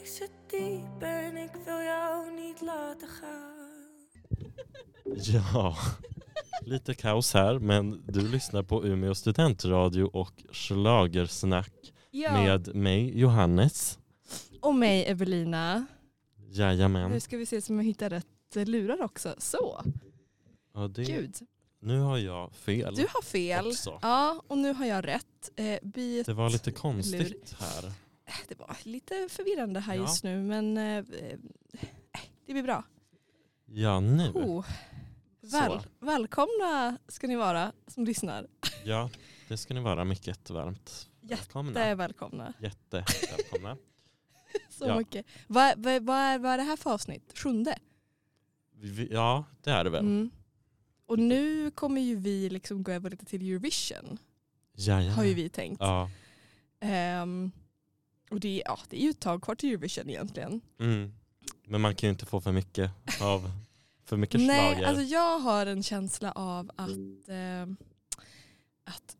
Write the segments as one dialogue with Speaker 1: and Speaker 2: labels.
Speaker 1: Ja, lite kaos här men du lyssnar på Umeå studentradio och Schlagersnack
Speaker 2: Ja,
Speaker 1: med mig Johannes.
Speaker 2: och mig Evelina. Nu
Speaker 1: Jajamän.
Speaker 2: ska vi se som jag hittar rätt eh, lurar också. Så,
Speaker 1: Ja, det,
Speaker 2: gud.
Speaker 1: nu har jag fel
Speaker 2: Du har fel.
Speaker 1: också.
Speaker 2: Ja, och nu har jag rätt. Eh, byt...
Speaker 1: Det var lite konstigt här.
Speaker 2: Eh, Det var lite förvirrande här
Speaker 1: Ja.
Speaker 2: just nu men eh, eh, det blir bra.
Speaker 1: Ja, nu.
Speaker 2: Oh.
Speaker 1: Så.
Speaker 2: Väl, välkomna ska ni vara som lyssnar.
Speaker 1: Ja, det ska ni vara mycket varmt
Speaker 2: Det
Speaker 1: välkomna.
Speaker 2: är välkomna.
Speaker 1: Jättevälkomna.
Speaker 2: Så
Speaker 1: Ja.
Speaker 2: mycket. Vad, vad, vad, är, vad är det här för avsnitt? Sjunde?
Speaker 1: Vi- vi- Ja, det är det väl.
Speaker 2: Mm. Och nu kommer ju vi liksom gå över lite till Eurovision. Har ju
Speaker 1: Jajamän.
Speaker 2: vi tänkt.
Speaker 1: Ja.
Speaker 2: Ehm, och det, är- ja, det är ju ett tag kvar till Eurovision egentligen.
Speaker 1: Mm. Men man kan ju inte få för mycket av för mycket
Speaker 2: Nej,
Speaker 1: schlager.
Speaker 2: alltså jag har en känsla av att, ehm, att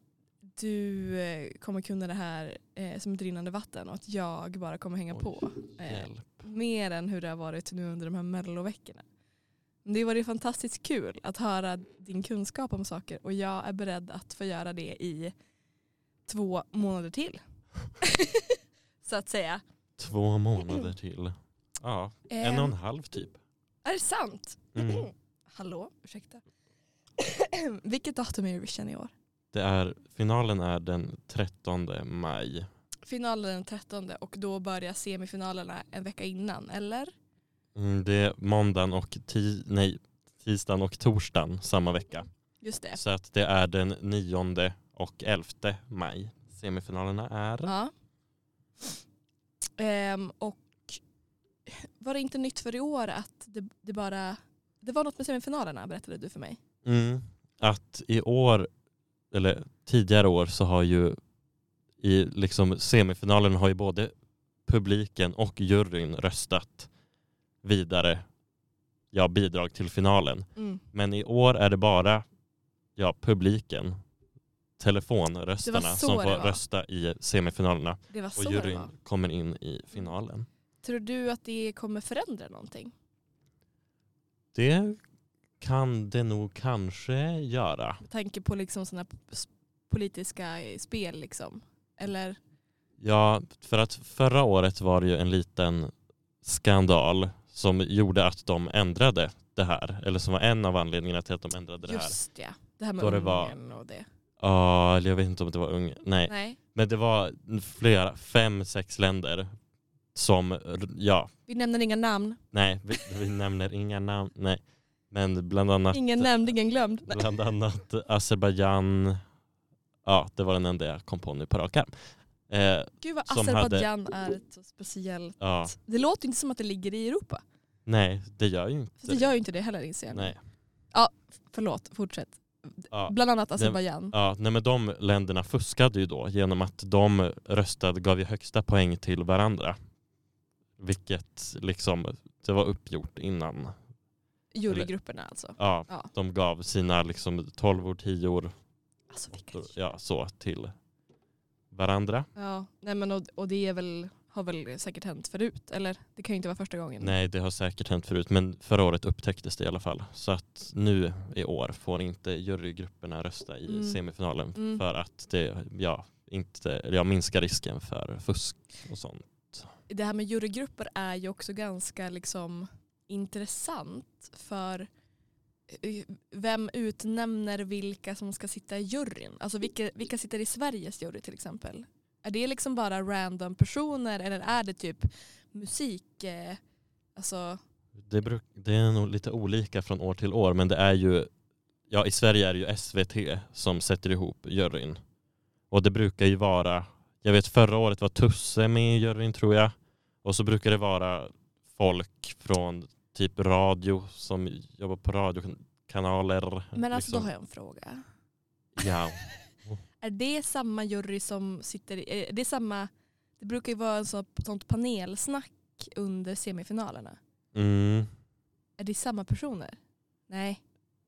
Speaker 2: du eh, kommer kunna det här eh, som ett rinnande vatten och att jag bara kommer hänga
Speaker 1: Oj,
Speaker 2: på. Eh,
Speaker 1: Hjälp.
Speaker 2: mer än hur det har varit nu under de här melloveckorna. Men Det var ju fantastiskt kul att höra din kunskap om saker och jag är beredd att få göra det i två månader till. Så att säga.
Speaker 1: Två månader till. Ja, en och en
Speaker 2: Ehm,
Speaker 1: halv typ.
Speaker 2: Är det sant?
Speaker 1: Mm.
Speaker 2: Hallå, ursäkta. Vilket datum är Eurovision i år?
Speaker 1: Det är, finalen är den 13 maj.
Speaker 2: Finalen den 13 och då börjar semifinalerna en vecka innan, eller?
Speaker 1: Mm, det är måndagen och ti- nej, tisdagen och torsdagen samma vecka.
Speaker 2: Just det.
Speaker 1: Så att det är den 9 och 11 maj. Semifinalerna är.
Speaker 2: Ja. Ehm, och var det inte nytt för i år att det, det bara... Det var något med semifinalerna berättade du för mig.
Speaker 1: Mm, att i år, eller tidigare år så har ju i liksom semifinalen har ju både publiken och juryn röstat vidare ja, bidrag till finalen.
Speaker 2: Mm.
Speaker 1: Men i år är det bara ja, publiken, telefonröstarna
Speaker 2: Det var så
Speaker 1: som
Speaker 2: det
Speaker 1: får
Speaker 2: var.
Speaker 1: rösta i semifinalerna
Speaker 2: Det var
Speaker 1: och
Speaker 2: så det
Speaker 1: juryn
Speaker 2: var.
Speaker 1: kommer in i finalen.
Speaker 2: Tror du att det kommer förändra någonting?
Speaker 1: Det kan det nog kanske göra.
Speaker 2: Med tanke på liksom sådana politiska eh, spel liksom. Eller?
Speaker 1: Ja, för att förra året var det ju en liten skandal som gjorde att de ändrade det här. Eller som var en av anledningarna till att de ändrade det här.
Speaker 2: Just ja. Det här med
Speaker 1: Då det var-
Speaker 2: Ungern och det.
Speaker 1: Ja, eller jag vet inte om det var Ungern. Nej.
Speaker 2: Nej.
Speaker 1: men det var flera, fem, sex länder som, ja,
Speaker 2: Vi nämner inga namn.
Speaker 1: nej, vi, vi nämner inga namn, nej. Men bland annat,
Speaker 2: Ingen nämnd, ingen glömd. Nej.
Speaker 1: bland annat Azerbajdzjan, ja, det var den enda jag kom på nu på rak arm. Eh,
Speaker 2: Gud vad
Speaker 1: som hade-
Speaker 2: Azerbajdzjan är ett så speciellt...
Speaker 1: ja,
Speaker 2: Det låter inte som att det ligger i Europa.
Speaker 1: nej, det gör ju inte
Speaker 2: För det gör ju inte det heller inser jag nu.
Speaker 1: Nej.
Speaker 2: Förlåt, fortsätt.
Speaker 1: Ja.
Speaker 2: Bland annat Azerbajdzjan.
Speaker 1: Ja, nej men de länderna fuskade ju då genom att de röstade, gav ju högsta poäng till varandra. Vilket liksom, det var uppgjort innan.
Speaker 2: Jurygrupperna alltså.
Speaker 1: Ja,
Speaker 2: Ja.
Speaker 1: de gav sina liksom 12 år, 10 år,
Speaker 2: Alltså vilka
Speaker 1: åttor, ja så till varandra.
Speaker 2: Ja, nej men och, och det är väl, har väl säkert hänt förut. Eller det kan ju inte vara första gången.
Speaker 1: Nej, det har säkert hänt förut, men förra året upptäcktes det i alla fall. Så att nu i år får inte jurygrupperna rösta i
Speaker 2: Mm.
Speaker 1: semifinalen
Speaker 2: Mm.
Speaker 1: för att det, ja, inte, jag minskar risken för fusk och sånt.
Speaker 2: Det här med jurygrupper är ju också ganska liksom intressant för eh, vem utnämner vilka som ska sitta i juryn? Alltså vilka, vilka sitter i Sveriges jury till exempel? Är det liksom bara random personer eller är det typ musik, eh, alltså
Speaker 1: Det, bruk, det är nog lite olika från år till år men det är ju, ja i Sverige är det ju SVT som sätter ihop juryn. Och det brukar ju vara, jag vet förra året var Tusse med i juryn tror jag. Och så brukar det vara folk från typ radio som jobbar på radiokanaler.
Speaker 2: Men alltså
Speaker 1: liksom.
Speaker 2: då har jag en fråga.
Speaker 1: Ja.
Speaker 2: Är det samma jury som sitter i, är det samma, det brukar ju vara en sån, sånt panelsnack under semifinalerna.
Speaker 1: Mm,
Speaker 2: Är det samma personer? Nej.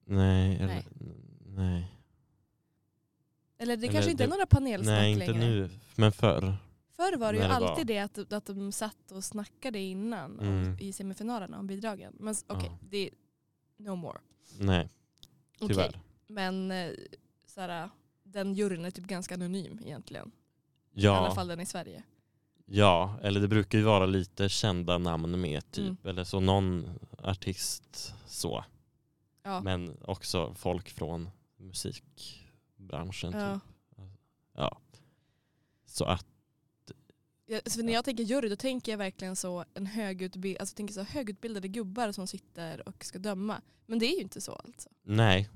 Speaker 1: nej, eller,
Speaker 2: Nej.
Speaker 1: nej. Nej,
Speaker 2: Eller det
Speaker 1: Eller
Speaker 2: kanske inte
Speaker 1: det-
Speaker 2: är några panelsnack
Speaker 1: inte
Speaker 2: längre.
Speaker 1: nu men förr.
Speaker 2: Förr var det ju
Speaker 1: När det var.
Speaker 2: alltid det att, att de satt och snackade innan om,
Speaker 1: Mm.
Speaker 2: i semifinalerna om bidragen. Men s- okej,
Speaker 1: Ja.
Speaker 2: det är no more.
Speaker 1: Nej,
Speaker 2: Okej.
Speaker 1: tyvärr.
Speaker 2: Men eh, såhär, den juryn är typ ganska anonym egentligen. I alla
Speaker 1: Ja,
Speaker 2: fall den i Sverige.
Speaker 1: ja, eller det brukar ju vara lite kända namn med typ.
Speaker 2: Mm.
Speaker 1: Eller så någon artist så.
Speaker 2: Ja.
Speaker 1: Men också folk från musikbranschen.
Speaker 2: ja.
Speaker 1: Typ. Ja. Så att,
Speaker 2: Ja, så när jag tänker jury då tänker jag verkligen så en högutbild, alltså jag tänker så högutbildade gubbar som sitter och ska döma. Men det är ju inte så alltså.
Speaker 1: nej.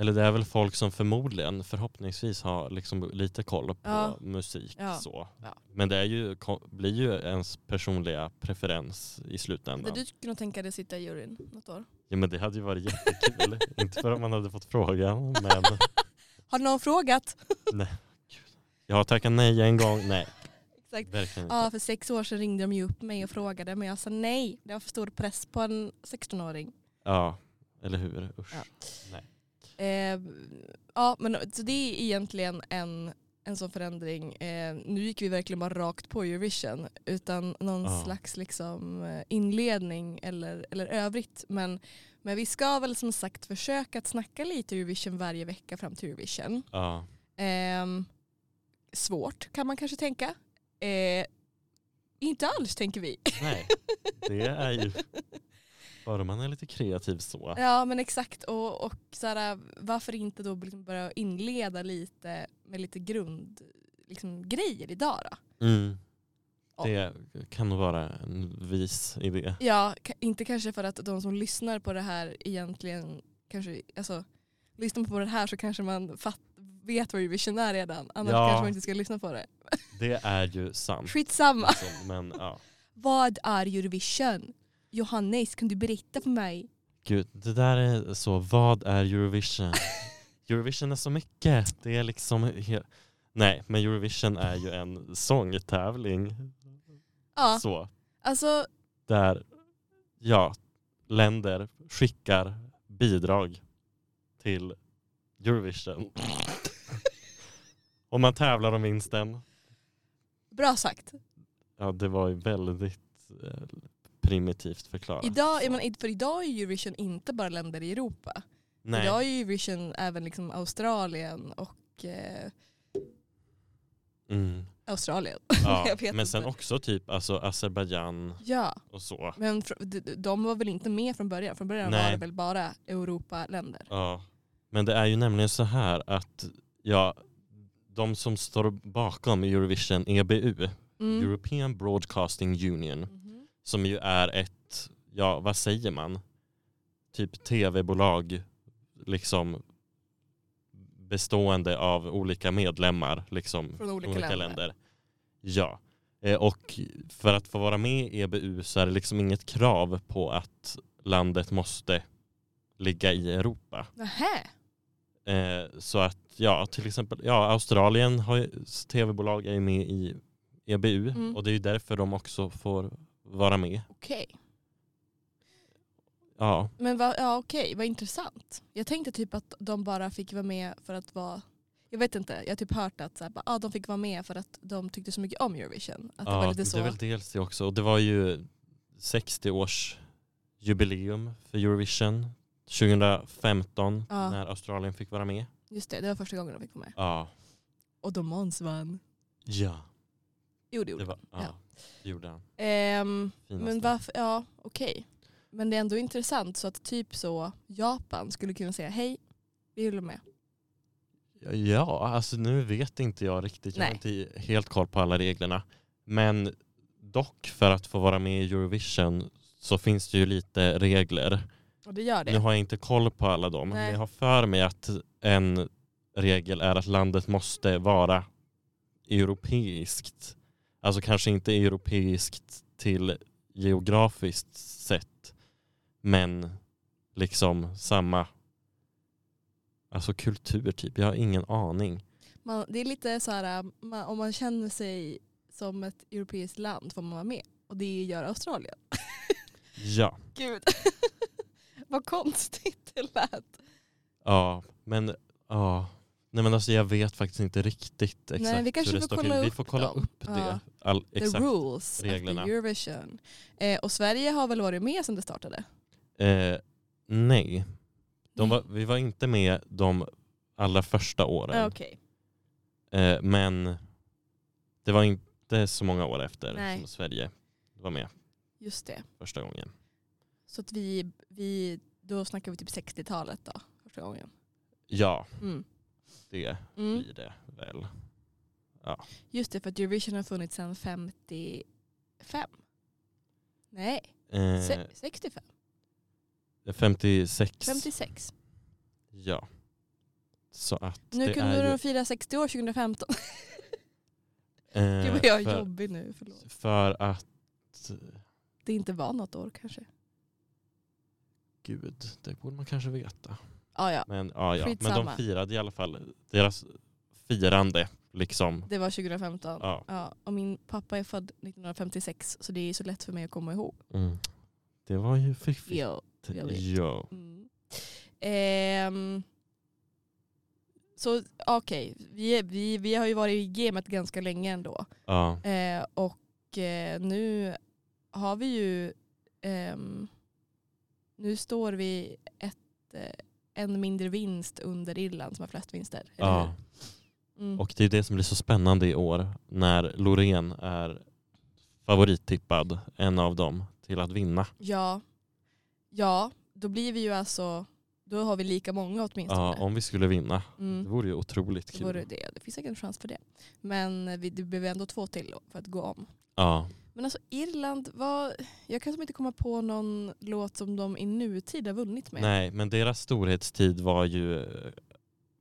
Speaker 1: Eller det är väl folk som förmodligen, förhoppningsvis har liksom lite koll på
Speaker 2: Ja.
Speaker 1: musik.
Speaker 2: Ja.
Speaker 1: Så.
Speaker 2: Ja.
Speaker 1: Men det är ju, ko- blir ju ens personliga preferens i slutändan.
Speaker 2: Men du skulle nog tänka dig att sitta i juryn något år.
Speaker 1: Ja, men det hade ju varit jättekul. Inte för att man hade fått frågan, men
Speaker 2: Har någon frågat?
Speaker 1: jag har tackat nej en gång. Nej,
Speaker 2: Exakt.
Speaker 1: verkligen inte.
Speaker 2: Ja, för sex år sedan ringde de ju upp mig och frågade men jag sa nej. Det var för stor press på en 16-åring.
Speaker 1: Ja, eller hur? Usch.
Speaker 2: Ja. Eh, ja, men så det är egentligen en, en sån förändring. Eh, nu gick vi verkligen bara rakt på Eurovision utan någon
Speaker 1: Ja.
Speaker 2: slags liksom eh, inledning eller, eller övrigt. Men, men vi ska väl som sagt försöka att snacka lite Eurovision varje vecka fram till Eurovision.
Speaker 1: Ja.
Speaker 2: Ehm, svårt kan man kanske tänka. Eh, inte alls tänker vi.
Speaker 1: Nej, det är ju... Bara man är lite kreativ så.
Speaker 2: Ja men exakt och, och så här, varför inte då liksom börja inleda lite med lite grund liksom, grejer idag då?
Speaker 1: Mm. Det kan nog vara en vis idé.
Speaker 2: Ja, ka- inte kanske för att de som lyssnar på det här egentligen kanske, alltså lyssnar man på det här så kanske man fatt, vet vad Eurovision är redan. Annars
Speaker 1: Ja.
Speaker 2: kanske man inte ska lyssna på det.
Speaker 1: Det är ju sant.
Speaker 2: Skitsamma.
Speaker 1: liksom, Men ja,
Speaker 2: Vad är Eurovision? Johannes, kan du berätta för mig?
Speaker 1: gud, det där är så. Vad är Eurovision? Eurovision är så mycket. Det är liksom... he- Nej, men Eurovision är ju en sångtävling.
Speaker 2: Ja,
Speaker 1: Så.
Speaker 2: alltså
Speaker 1: där ja, länder skickar bidrag till Eurovision. Och man tävlar om vinsten.
Speaker 2: bra sagt.
Speaker 1: Ja, det var ju väldigt eh, primitivt förklarat.
Speaker 2: Idag, är man, för idag är Eurovision inte bara länder i Europa.
Speaker 1: Nej,
Speaker 2: Idag är ju Eurovision även liksom Australien och eh,
Speaker 1: mm.
Speaker 2: Australien.
Speaker 1: ja.
Speaker 2: Jag vet
Speaker 1: men sen
Speaker 2: inte.
Speaker 1: också typ alltså Azerbajdzjan
Speaker 2: Ja,
Speaker 1: och så.
Speaker 2: men fr- d- d- de var väl inte med från början? Från början var
Speaker 1: Nej.
Speaker 2: det väl bara Europaländer?
Speaker 1: Ja. Men det är ju nämligen så här att ja, de som står bakom Eurovision, EBU,
Speaker 2: Mm.
Speaker 1: European Broadcasting Union,
Speaker 2: Mhm.
Speaker 1: som ju är ett, ja vad säger man, typ tv-bolag liksom bestående av olika medlemmar liksom,
Speaker 2: Från olika länder.
Speaker 1: Ja, Eh, och för att få vara med i EBU så är det liksom inget krav på att landet måste ligga i Europa.
Speaker 2: Nähä,
Speaker 1: Eh, så att ja, till exempel ja, Australien har ju- s- tv-bolag är ju med i EBU
Speaker 2: Mm.
Speaker 1: och det är ju därför de också får vara med.
Speaker 2: okej.
Speaker 1: Ja.
Speaker 2: Men va, ja, okej, vad intressant. Jag tänkte typ att de bara fick vara med för att vara jag vet inte, jag har typ hört att så här, bara, ah, de fick vara med för att de tyckte så mycket om Eurovision. Att det var lite så.
Speaker 1: det är väl dels det också. Och det var ju 60 års jubileum för Eurovision 2015
Speaker 2: Ja.
Speaker 1: när Australien fick vara med.
Speaker 2: Just det, det var första gången de fick vara med.
Speaker 1: Ja,
Speaker 2: Och då Måns vann.
Speaker 1: ja.
Speaker 2: Jo det gjorde
Speaker 1: det var ja.
Speaker 2: Ja.
Speaker 1: det gjorde han.
Speaker 2: Ehm,
Speaker 1: Finaste.
Speaker 2: men varför, ja okej. Men det är ändå intressant så att typ så Japan skulle kunna säga hej, vi vill med.
Speaker 1: Ja, alltså nu vet inte jag riktigt. Jag har inte helt koll på alla reglerna. Men dock för att få vara med i Eurovision så finns det ju lite regler.
Speaker 2: Och det gör det.
Speaker 1: Nu har jag inte koll på alla dem,
Speaker 2: Nej.
Speaker 1: men jag har för mig att en regel är att landet måste vara europeiskt. Alltså kanske inte europeiskt till geografiskt sett, men liksom samma alltså kultur typ. Jag har ingen aning.
Speaker 2: Man, det är lite så här, äh, man, om man känner sig som ett europeiskt land får man vara med. Och det gör Australien.
Speaker 1: Ja,
Speaker 2: Gud, vad konstigt det lät.
Speaker 1: ja, men ja. Nej men alltså jag vet faktiskt inte riktigt exakt
Speaker 2: vi kanske
Speaker 1: hur det
Speaker 2: får
Speaker 1: står till.
Speaker 2: kolla
Speaker 1: Vi
Speaker 2: upp
Speaker 1: får kolla
Speaker 2: dem.
Speaker 1: upp det.
Speaker 2: Ja.
Speaker 1: All,
Speaker 2: The
Speaker 1: exakt.
Speaker 2: rules
Speaker 1: reglerna.
Speaker 2: reglerna. of Eurovision. Eh, och Sverige har väl varit med sedan det startade?
Speaker 1: Eh, nej, De var, vi var inte med de allra första åren.
Speaker 2: Ja, Ah, Okej.
Speaker 1: Eh, men det var inte så många år efter
Speaker 2: Nej.
Speaker 1: som Sverige var med
Speaker 2: Just det.
Speaker 1: första gången.
Speaker 2: Så att vi, vi, då snackar vi typ 60-talet då, första gången.
Speaker 1: Ja,
Speaker 2: Mm.
Speaker 1: det
Speaker 2: Mm.
Speaker 1: blir det väl.
Speaker 2: Just det, för att Eurovision har funnits sedan 55. Nej,
Speaker 1: Eh,
Speaker 2: se- 65.
Speaker 1: 56.
Speaker 2: 56.
Speaker 1: Ja. Så att
Speaker 2: Nu
Speaker 1: det
Speaker 2: kunde
Speaker 1: är
Speaker 2: de
Speaker 1: ju...
Speaker 2: fira 60 år 2015.
Speaker 1: eh,
Speaker 2: Gud vad jag är
Speaker 1: för,
Speaker 2: jobbig nu, förlåt.
Speaker 1: för att,
Speaker 2: Det inte var något år kanske.
Speaker 1: gud, det borde man kanske veta.
Speaker 2: Ah, ja,
Speaker 1: Men, ja, ja. Men de
Speaker 2: Skitsamma.
Speaker 1: firade i alla fall, deras firande liksom.
Speaker 2: det var 2015.
Speaker 1: Ja.
Speaker 2: Ja, och min pappa är född 1956 så det är så lätt för mig att komma ihåg.
Speaker 1: Mm. Det var ju fiffigt.
Speaker 2: Ja. jag vet.
Speaker 1: Ja.
Speaker 2: Mm. Ehm, så okej, vi, är- vi, vi har ju varit i gamet ganska länge ändå.
Speaker 1: ja.
Speaker 2: Eh, och eh, nu har vi ju, ehm, nu står vi ett, eh, en mindre vinst under Irland som har flest vinster. eller
Speaker 1: ja.
Speaker 2: hur? Mm.
Speaker 1: Och det är det som blir så spännande i år när Loreen är favorittippad, en av dem, till att vinna.
Speaker 2: Ja. ja, då blir vi ju alltså, då har vi lika många åtminstone.
Speaker 1: Ja, om vi skulle vinna.
Speaker 2: Mm.
Speaker 1: Det vore ju otroligt
Speaker 2: Det
Speaker 1: kul.
Speaker 2: vore det. Det finns säkert en chans för det. Men vi, det blev ändå två till för att gå om.
Speaker 1: Ja.
Speaker 2: Men alltså Irland, var, jag kan som inte komma på någon låt som de i nutid har vunnit med.
Speaker 1: Nej, men deras storhetstid var ju eh,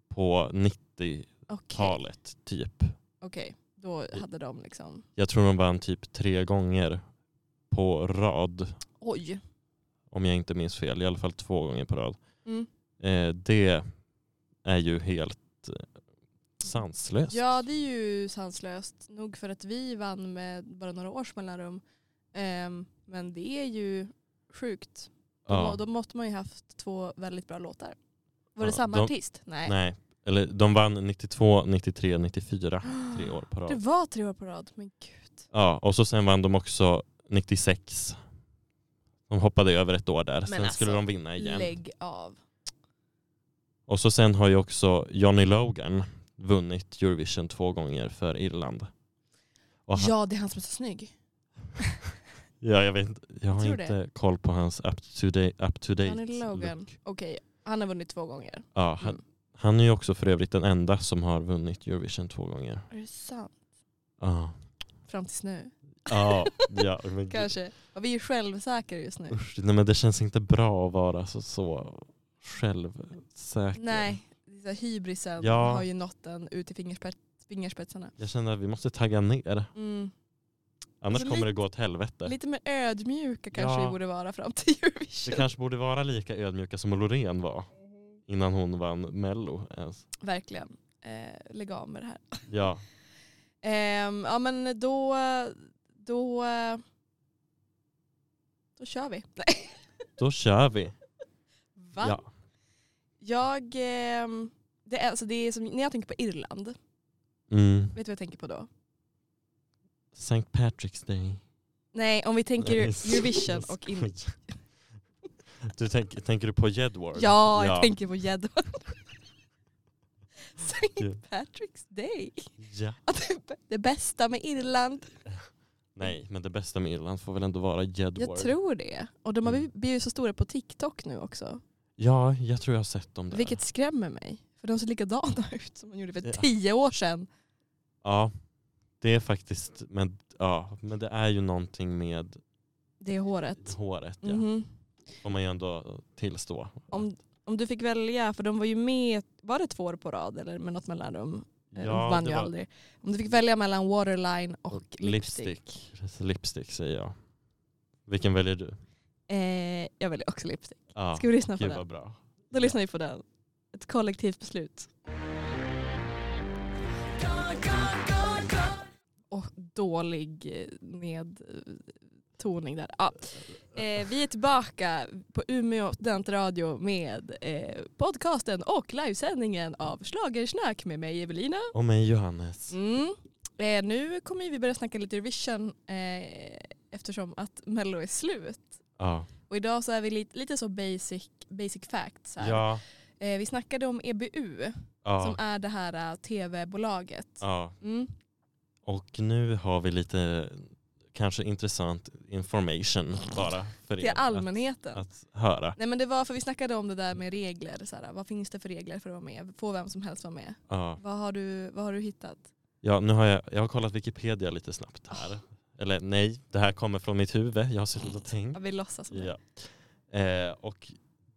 Speaker 1: på
Speaker 2: Okej,
Speaker 1: 90-talet, typ.
Speaker 2: okej. då hade de liksom,
Speaker 1: Jag tror de vann typ tre gånger på rad,
Speaker 2: oj.
Speaker 1: om jag inte minns fel. I alla fall två gånger på rad.
Speaker 2: Mm.
Speaker 1: Eh, det är ju helt eh, sanslöst.
Speaker 2: Ja det är ju sanslöst. Nog för att vi vann med bara några års mellanrum. Ehm, men det är ju sjukt. Då,
Speaker 1: Ja.
Speaker 2: då måste man ju haft två väldigt bra låtar. Var
Speaker 1: Ja,
Speaker 2: det samma
Speaker 1: de-
Speaker 2: artist? Nej.
Speaker 1: Nej, eller de vann 92, 93, 94. Tre år på
Speaker 2: Det
Speaker 1: rad.
Speaker 2: var tre år på rad, men gud.
Speaker 1: Ja, och så sen vann de också 96. De hoppade över ett år där. Sen
Speaker 2: alltså,
Speaker 1: skulle de vinna igen.
Speaker 2: Lägg av.
Speaker 1: Och så sen har ju också Johnny Logan vunnit Eurovision två gånger för Irland. Och han,
Speaker 2: Ja, det är han som är så snygg.
Speaker 1: ja, jag, vet, inte- jag har
Speaker 2: Tror
Speaker 1: inte koll på hans up-to-date up to date
Speaker 2: Johnny Logan.
Speaker 1: look.
Speaker 2: Okej, han har vunnit två gånger.
Speaker 1: Ja, han,
Speaker 2: Mm.
Speaker 1: han är ju också för övrigt den enda som har vunnit Eurovision två gånger.
Speaker 2: Är det sant?
Speaker 1: Ja,
Speaker 2: Fram tills nu.
Speaker 1: ja, ja men gud.
Speaker 2: Kanske. Och vi är självsäkra just nu.
Speaker 1: Usch, nej men det känns inte bra att vara så, så självsäker.
Speaker 2: Nej, det är så här, hybrisen
Speaker 1: Ja.
Speaker 2: har ju nått en ut i fingerspets- fingerspetsarna.
Speaker 1: Jag känner att vi måste tagga ner,
Speaker 2: Mm.
Speaker 1: annars
Speaker 2: Alltså,
Speaker 1: kommer
Speaker 2: lite-
Speaker 1: det gå åt helvete.
Speaker 2: Lite mer ödmjuka kanske
Speaker 1: Ja.
Speaker 2: vi borde vara fram till Eurovision.
Speaker 1: Vi kanske borde vara lika ödmjuka som Loreen var innan hon vann Mello. ens.
Speaker 2: Verkligen. Eh, lägg av med det här.
Speaker 1: Ja,
Speaker 2: Ehm, ja men då, då, då kör vi. Nej.
Speaker 1: då kör vi.
Speaker 2: Va?
Speaker 1: Ja.
Speaker 2: Jag, ehm, det är, alltså det är som, när jag tänker på Irland, vet
Speaker 1: Mm.
Speaker 2: du vad jag tänker på då?
Speaker 1: St. Patrick's Day.
Speaker 2: Nej, om vi tänker
Speaker 1: Nej,
Speaker 2: Eurovision
Speaker 1: jag
Speaker 2: och in...
Speaker 1: skojar. Du tänk, tänker du på Jedward?
Speaker 2: Ja, jag tänker på gäddan. St.
Speaker 1: Gud.
Speaker 2: Patrick's Day.
Speaker 1: ja.
Speaker 2: Att det- Det bästa med Irland.
Speaker 1: Nej, men det bästa med Irland får väl ändå vara Jedward.
Speaker 2: Jag tror det. Och de har
Speaker 1: Mm.
Speaker 2: blivit så stora på TikTok nu också.
Speaker 1: Ja, jag tror jag har sett dem där.
Speaker 2: Vilket skrämmer mig. För de ser likadana ut som de gjorde för
Speaker 1: Ja.
Speaker 2: tio år sedan.
Speaker 1: Ja, det är faktiskt, men, ja, men det är ju någonting med
Speaker 2: Det är håret.
Speaker 1: håret. Ja.
Speaker 2: Mhm.
Speaker 1: Får man ju ändå tillstå.
Speaker 2: Om, om du fick välja, för de var ju med, var det två år på rad eller med något mellanrum? Eh, de vann
Speaker 1: det
Speaker 2: ju
Speaker 1: var-
Speaker 2: aldrig. Om du fick välja mellan waterline och, lipstick.
Speaker 1: lipstick. Lipstick säger jag. Vilken väljer du?
Speaker 2: Eh, jag väljer också lipstick.
Speaker 1: Ja,
Speaker 2: Ska vi lyssna på
Speaker 1: gud
Speaker 2: den?
Speaker 1: vad bra.
Speaker 2: Då lyssnar vi på den. Ett kollektivt beslut. Och dålig eh, nedtoning där. Ja. Eh, vi är tillbaka på Umeå studentradio med eh, podcasten och livesändningen av Schlagersnack med mig Evelina.
Speaker 1: Och mig Johannes.
Speaker 2: Mm. Eh, nu kommer vi börja snacka lite Eurovision eh, eftersom att Mello är slut.
Speaker 1: Ja.
Speaker 2: Och idag så är vi lite, lite så basic, basic facts. Här.
Speaker 1: Ja.
Speaker 2: Eh, vi snackade om EBU som
Speaker 1: Ja.
Speaker 2: är det här eh, tv-bolaget.
Speaker 1: ja.
Speaker 2: Mm.
Speaker 1: Och nu har vi lite kanske intressant information bara för
Speaker 2: Till
Speaker 1: er att,
Speaker 2: allmänheten.
Speaker 1: att höra.
Speaker 2: Nej men det var för vi snackade om det där med regler. Så här, vad finns det för regler för att vara med? Får vem som helst vara med?
Speaker 1: Ja.
Speaker 2: Vad har du, vad har du hittat?
Speaker 1: Ja, nu har jag, jag har kollat Wikipedia lite snabbt här. Eller nej, det här kommer från mitt huvud. Jag har suttit och tänkt.
Speaker 2: Ja, vi låtsas som det.
Speaker 1: Ja. Eh, och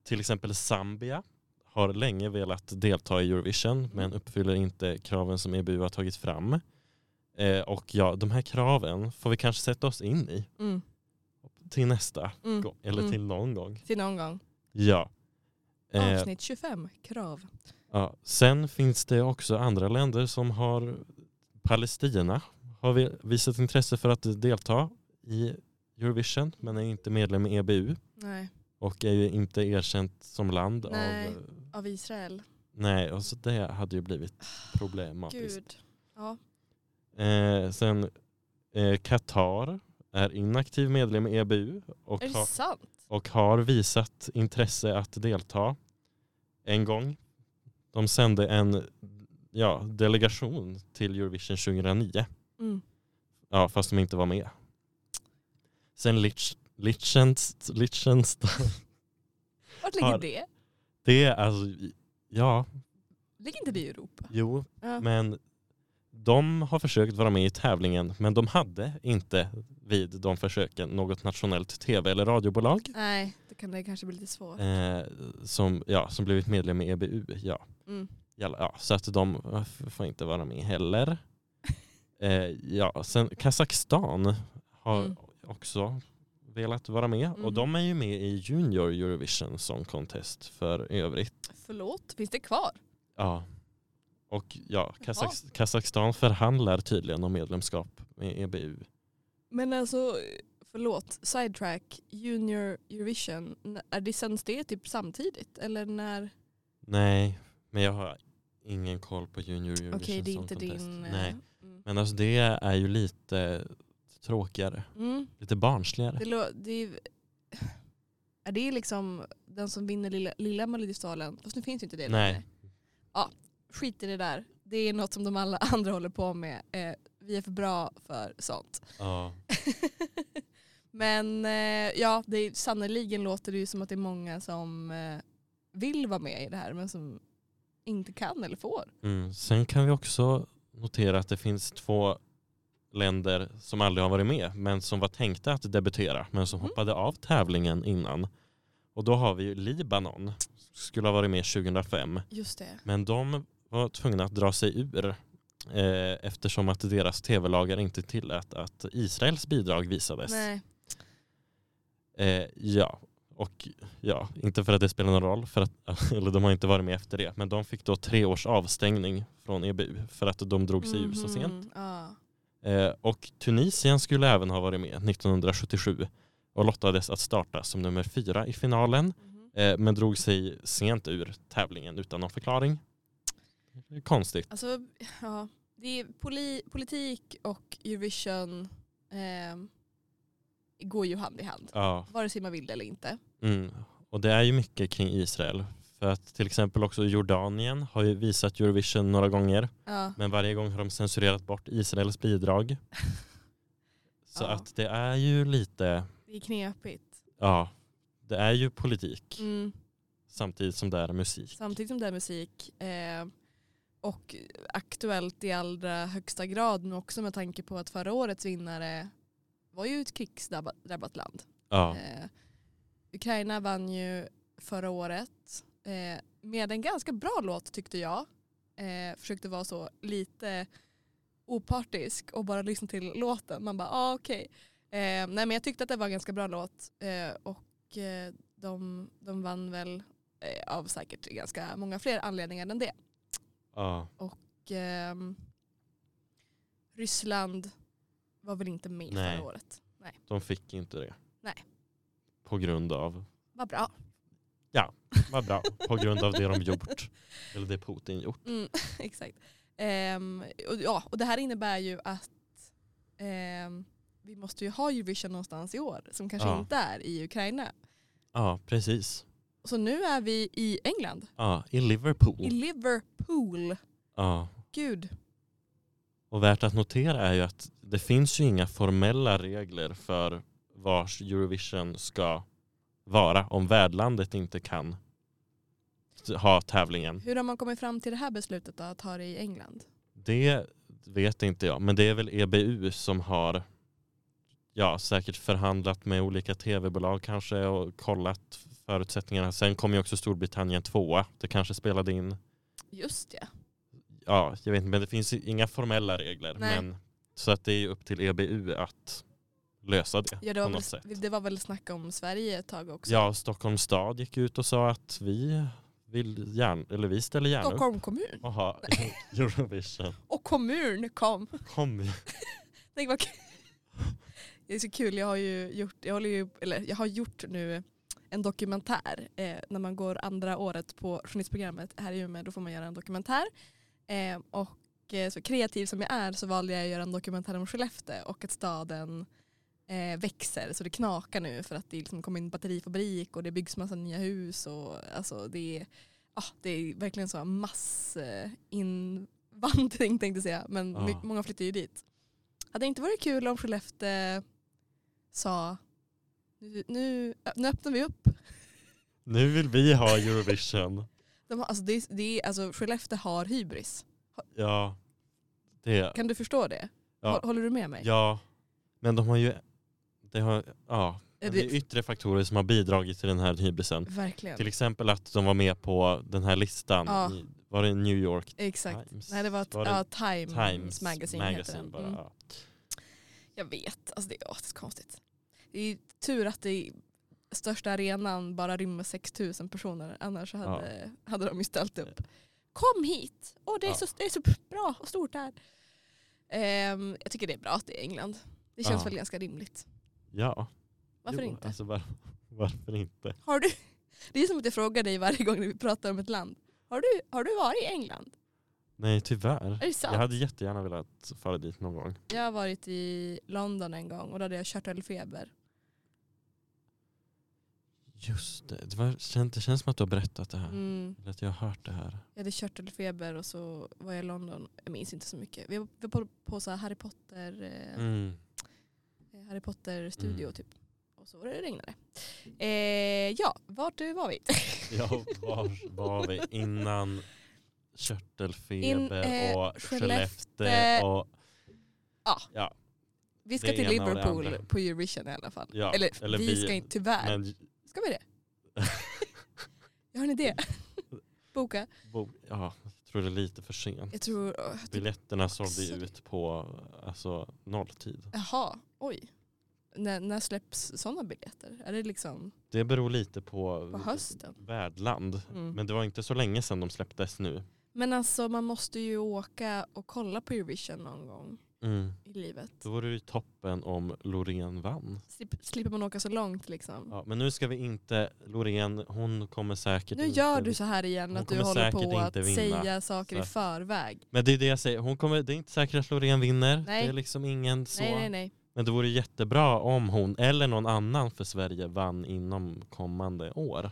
Speaker 1: till exempel Zambia har länge velat delta i Eurovision men uppfyller inte kraven som EBU har tagit fram. Eh, och ja, de här kraven får vi kanske sätta oss in i
Speaker 2: Mm.
Speaker 1: till nästa
Speaker 2: Mm.
Speaker 1: gång, eller
Speaker 2: Mm.
Speaker 1: till någon gång.
Speaker 2: Till någon gång.
Speaker 1: Ja. Eh,
Speaker 2: Avsnitt 25, krav.
Speaker 1: ja. Sen finns det också andra länder som har Palestina har vi visat intresse för att delta i Eurovision men är inte medlem i EBU
Speaker 2: Nej,
Speaker 1: och är ju inte erkänt som land
Speaker 2: Nej.
Speaker 1: av
Speaker 2: av Israel.
Speaker 1: Nej, och så det hade ju blivit problematiskt.
Speaker 2: Gud. Ja.
Speaker 1: Eh, sen eh, Qatar är inaktiv medlem i EBU och,
Speaker 2: Är
Speaker 1: har-
Speaker 2: det sant?
Speaker 1: och har visat intresse att delta en gång. De sände en ja, delegation till Eurovision 2009,
Speaker 2: Mm.
Speaker 1: ja, fast de inte var med. Sen Lich- Liechtenst- Liechtenstein,
Speaker 2: Vart ligger
Speaker 1: Har-
Speaker 2: det?
Speaker 1: det är alltså, ja,
Speaker 2: Ligger inte det i Europa?
Speaker 1: jo,
Speaker 2: Ja.
Speaker 1: Men de har försökt vara med i tävlingen men de hade inte vid de försöken något nationellt tv eller radiobolag
Speaker 2: Nej, då kan det kanske bli lite svårt.
Speaker 1: eh, som, ja, som blivit medlem i EBU. Ja.
Speaker 2: Mm.
Speaker 1: Jalla, Ja, så att de eh, f- får inte vara med heller. Eh, ja, sen Kazakstan har
Speaker 2: Mm.
Speaker 1: också velat vara med och
Speaker 2: Mhm.
Speaker 1: de är ju med i Junior Eurovision Song Contest för övrigt.
Speaker 2: Förlåt, finns det kvar?
Speaker 1: Ja. Och ja, Kazak- Kazakstan förhandlar tydligen om medlemskap med E EBU.
Speaker 2: Men alltså, förlåt, sidetrack, Junior Eurovision, n- är det sänds det typ samtidigt? Eller när?
Speaker 1: Nej, men jag har ingen koll på Junior Eurovision
Speaker 2: Okej, det är
Speaker 1: Song
Speaker 2: inte
Speaker 1: Contest.
Speaker 2: din... eh,
Speaker 1: Nej,
Speaker 2: Mm.
Speaker 1: men alltså det är ju lite tråkigare,
Speaker 2: Mm.
Speaker 1: lite barnsligare.
Speaker 2: Det, lå- det är, är det liksom den som vinner lilla, lilla Melodifestivalen? Fast nu finns ju inte det
Speaker 1: Nej.
Speaker 2: längre. Ja, skit i det där. Det är något som de alla andra håller på med. Eh, vi är för bra för sånt.
Speaker 1: Ja,
Speaker 2: Men eh, ja, det är, sannoliken låter det ju som att det är många som eh, vill vara med i det här men som inte kan eller får.
Speaker 1: mm. Sen kan vi också notera att det finns två länder som aldrig har varit med men som var tänkta att debutera men som
Speaker 2: Mhm.
Speaker 1: hoppade av tävlingen innan. Och då har vi ju Libanon, skulle ha varit med 2005.
Speaker 2: Just det.
Speaker 1: Men de var tvungna att dra sig ur eh, eftersom att deras tv-lagar inte tillät att Israels bidrag visades.
Speaker 2: Nej.
Speaker 1: Eh, ja, och ja, inte för att det spelar någon roll, för att, eller de har inte varit med efter det, men de fick då tre års avstängning från EBU för att de drog sig ur så
Speaker 2: Mhm.
Speaker 1: sent.
Speaker 2: Ja.
Speaker 1: Eh, och Tunisien skulle även ha varit med 1977 och lottades att starta som nummer fyra i finalen,
Speaker 2: Mhm.
Speaker 1: eh, men drog sig sent ur tävlingen utan någon förklaring. Konstigt.
Speaker 2: Alltså, ja. Det är poli, politik och Eurovision eh, går ju hand i hand.
Speaker 1: Ja,
Speaker 2: Vare sig man vill det eller inte.
Speaker 1: Mm. Och det är ju mycket kring Israel. För att till exempel också Jordanien har ju visat Eurovision några gånger.
Speaker 2: Ja.
Speaker 1: Men varje gång har de censurerat bort Israels bidrag. Så
Speaker 2: Ja.
Speaker 1: att det är ju lite,
Speaker 2: Det är knepigt.
Speaker 1: ja, det är ju politik
Speaker 2: Mm.
Speaker 1: samtidigt som det är musik.
Speaker 2: Samtidigt som det är musik eh, och aktuellt i allra högsta grad nu också med tanke på att förra årets vinnare var ju ett krigsdrabbat land.
Speaker 1: Ja,
Speaker 2: Eh, Ukraina vann ju förra året eh, med en ganska bra låt tyckte jag. Eh, försökte vara så lite opartisk och bara lyssna till låten. Man bara, ah, okej. Eh, nej men jag tyckte att det var en ganska bra låt eh, och eh, de, de vann väl eh, av säkert ganska många fler anledningar än det.
Speaker 1: ja,
Speaker 2: Och, ehm, Ryssland var väl inte med
Speaker 1: Nej.
Speaker 2: förra året. Nej,
Speaker 1: de fick inte det.
Speaker 2: Nej.
Speaker 1: På grund av,
Speaker 2: vad bra.
Speaker 1: vad bra, på grund av det de gjort. Eller det Putin gjort.
Speaker 2: Mm, exakt. Ehm, och, ja, och det här innebär ju att ehm, vi måste ju ha Eurovision någonstans i år som kanske
Speaker 1: Ja.
Speaker 2: inte är i Ukraina.
Speaker 1: Ja, precis.
Speaker 2: Så nu är vi i England,
Speaker 1: Ja, i Liverpool.
Speaker 2: i Liverpool.
Speaker 1: Ja.
Speaker 2: Gud.
Speaker 1: Och värt att notera är ju att det finns ju inga formella regler för vars Eurovision ska vara om värdlandet inte kan ha tävlingen.
Speaker 2: Hur har man kommit fram till det här beslutet då, att ha det i England?
Speaker 1: Det vet inte jag, men det är väl EBU som har ja, säkert förhandlat med olika tv-bolag kanske och kollat förutsättningarna. Sen kom ju också Storbritannien tvåa. Det kanske spelade in.
Speaker 2: Just det.
Speaker 1: Ja, jag vet inte, men det finns ju inga formella regler.
Speaker 2: Nej.
Speaker 1: Men, så att det är ju upp till EBU att lösa det
Speaker 2: Ja, det, var
Speaker 1: på något sätt.
Speaker 2: väl, det var väl snack om Sverige ett tag också.
Speaker 1: Ja, Stockholms stad gick ut och sa att vi, vill gärna, eller vi ställer gärna upp
Speaker 2: Stockholm kommun
Speaker 1: och ha Eurovision.
Speaker 2: och kommun kom.
Speaker 1: Kom.
Speaker 2: Tänk vad kul. Det är så kul, jag har ju gjort, jag håller ju, eller jag har gjort nu en dokumentär. Eh, när man går andra året på journalistprogrammet här i Umeå då får man göra en dokumentär. Eh, och eh, så kreativ som jag är så valde jag att göra en dokumentär om Skellefteå och att staden eh, växer så det knakar nu för att det liksom kommer in batterifabrik och det byggs massa nya hus och alltså det är, ah, det är verkligen så massinvandring tänkte jag säga men
Speaker 1: Ja.
Speaker 2: my- många flyttar ju dit. Hade det inte varit kul om Skellefteå sa nu, nu, nu öppnar vi upp.
Speaker 1: Nu vill vi ha Eurovision.
Speaker 2: De har, alltså, det, är- det, är- alltså, Skellefteå har hybris.
Speaker 1: Ja, det.
Speaker 2: Kan du förstå det?
Speaker 1: Ja.
Speaker 2: Hå- Håller du med mig?
Speaker 1: Ja, men de har ju... Det, har, ja,
Speaker 2: Är
Speaker 1: men det är yttre faktorer som har bidragit till den här hybrisen.
Speaker 2: verkligen.
Speaker 1: Till exempel att de var med på den här listan.
Speaker 2: Ja.
Speaker 1: I, var det New York
Speaker 2: Exakt.
Speaker 1: Times?
Speaker 2: Nej det var, ett-
Speaker 1: Var det
Speaker 2: ja, Times,
Speaker 1: Times
Speaker 2: Magazine, heter den.
Speaker 1: bara,
Speaker 2: Mm.
Speaker 1: ja.
Speaker 2: Jag vet, alltså det, åh, det är så konstigt. Det är ju tur att det största arenan bara rymmer 6000 personer annars hade, hade de ju ställt upp. Kom hit! Åh det, är
Speaker 1: Ja.
Speaker 2: så, det är så bra och stort här. Ehm, jag tycker det är bra att det är England. Det känns
Speaker 1: Ja.
Speaker 2: väl ganska rimligt.
Speaker 1: ja.
Speaker 2: Varför
Speaker 1: Jo,
Speaker 2: inte?
Speaker 1: Alltså, var, varför inte?
Speaker 2: Har du, det är som att jag frågar dig varje gång vi pratar om ett land. Har du, har du varit i England?
Speaker 1: Nej, tyvärr.
Speaker 2: Är det sant?
Speaker 1: Jag hade jättegärna velat fara dit någon gång.
Speaker 2: Jag har varit i London en gång och då hade jag körtelfeber.
Speaker 1: Just det, det, var, kän- det känns som att du har berättat det här.
Speaker 2: Mm.
Speaker 1: Eller att jag har hört det här.
Speaker 2: Jag hade körtelfeber och så var jag i London. Jag minns inte så mycket. Vi var, vi var på, på så här Harry Potter eh,
Speaker 1: Mm.
Speaker 2: Harry Potter studio
Speaker 1: Mm.
Speaker 2: typ. Och så var det regnade. Eh, ja, vart du var vi?
Speaker 1: Ja, var var vi innan körtelfeber
Speaker 2: In, eh,
Speaker 1: och
Speaker 2: Skellefteå.
Speaker 1: Skellefteå och
Speaker 2: Vi ska
Speaker 1: Det
Speaker 2: till
Speaker 1: ena och det
Speaker 2: Liverpool
Speaker 1: andra.
Speaker 2: på Eurovision i alla fall.
Speaker 1: Ja,
Speaker 2: eller,
Speaker 1: eller
Speaker 2: vi,
Speaker 1: vi-
Speaker 2: ska inte, tyvärr.
Speaker 1: men,
Speaker 2: Ska vi det? Jag har en idé. Boka.
Speaker 1: bo- ja, jag tror det är lite för sent.
Speaker 2: Jag tror... åh, typ-
Speaker 1: Biljetterna sålde ju
Speaker 2: Sorry.
Speaker 1: ut på alltså, nolltid.
Speaker 2: Jaha, oj. När, när släpps sådana biljetter? Är det liksom
Speaker 1: Det beror lite på,
Speaker 2: på hösten?
Speaker 1: värdland.
Speaker 2: Mm.
Speaker 1: Men det var inte så länge sedan de släpptes nu.
Speaker 2: Men alltså man måste ju åka och kolla på Eurovision någon gång
Speaker 1: Mm.
Speaker 2: i livet.
Speaker 1: Då vore det ju toppen om Loreen vann.
Speaker 2: Slip, slipper man åka så långt liksom.
Speaker 1: Ja, men nu ska vi inte, Loreen hon kommer säkert
Speaker 2: Nu
Speaker 1: inte
Speaker 2: gör
Speaker 1: vinna.
Speaker 2: du så här igen
Speaker 1: Hon
Speaker 2: att du
Speaker 1: kommer
Speaker 2: håller
Speaker 1: säkert
Speaker 2: på att
Speaker 1: inte vinna.
Speaker 2: säga saker
Speaker 1: Så
Speaker 2: i
Speaker 1: att-
Speaker 2: förväg.
Speaker 1: Men det är det jag säger, hon kommer, det är inte säkert att Loreen vinner.
Speaker 2: Nej.
Speaker 1: Det är liksom ingen så.
Speaker 2: Nej, nej, nej.
Speaker 1: Men det vore jättebra om hon eller någon annan för Sverige vann inom kommande år.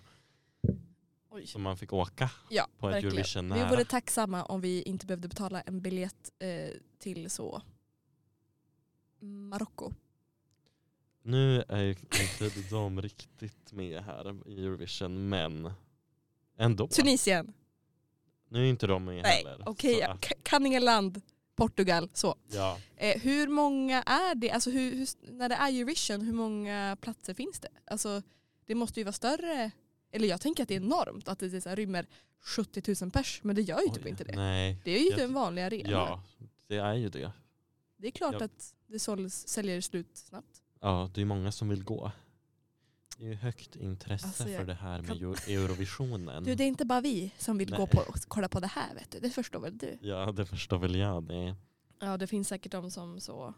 Speaker 2: Oj.
Speaker 1: Så man fick åka
Speaker 2: Ja,
Speaker 1: på ett
Speaker 2: verkligen.
Speaker 1: Eurovision
Speaker 2: Vi
Speaker 1: nära.
Speaker 2: vore tacksamma om vi inte behövde betala en biljett eh, till så Marocko.
Speaker 1: Nu är ju inte de riktigt med här i Eurovision men ändå.
Speaker 2: Tunisien.
Speaker 1: Nu är inte de med
Speaker 2: Nej,
Speaker 1: heller.
Speaker 2: okej.
Speaker 1: Så
Speaker 2: ja.
Speaker 1: att-
Speaker 2: K- Kanningeland, Portugal, så.
Speaker 1: Ja.
Speaker 2: Eh, hur många är det? Alltså hur, hur, när det är Eurovision, hur många platser finns det? Alltså, det måste ju vara större. Eller jag tänker att det är enormt att det så här, rymmer 70 000 pers. Men det gör ju typ
Speaker 1: Oj,
Speaker 2: inte det.
Speaker 1: Nej.
Speaker 2: Det är ju typ
Speaker 1: Jag-
Speaker 2: en vanlig arena.
Speaker 1: Ja, det är ju det.
Speaker 2: Det är klart
Speaker 1: Ja.
Speaker 2: att det såls, säljer slut snabbt.
Speaker 1: Ja, det är många som vill gå. Det är ju högt intresse
Speaker 2: Alltså, jag
Speaker 1: för det här med
Speaker 2: kan-
Speaker 1: Euro- Eurovisionen.
Speaker 2: Du, det är inte bara vi som vill gå
Speaker 1: Mm. Nej.
Speaker 2: på och kolla på det här vet du. Det förstår väl du?
Speaker 1: Ja, det förstår väl jag. Det.
Speaker 2: Ja, det finns säkert de som så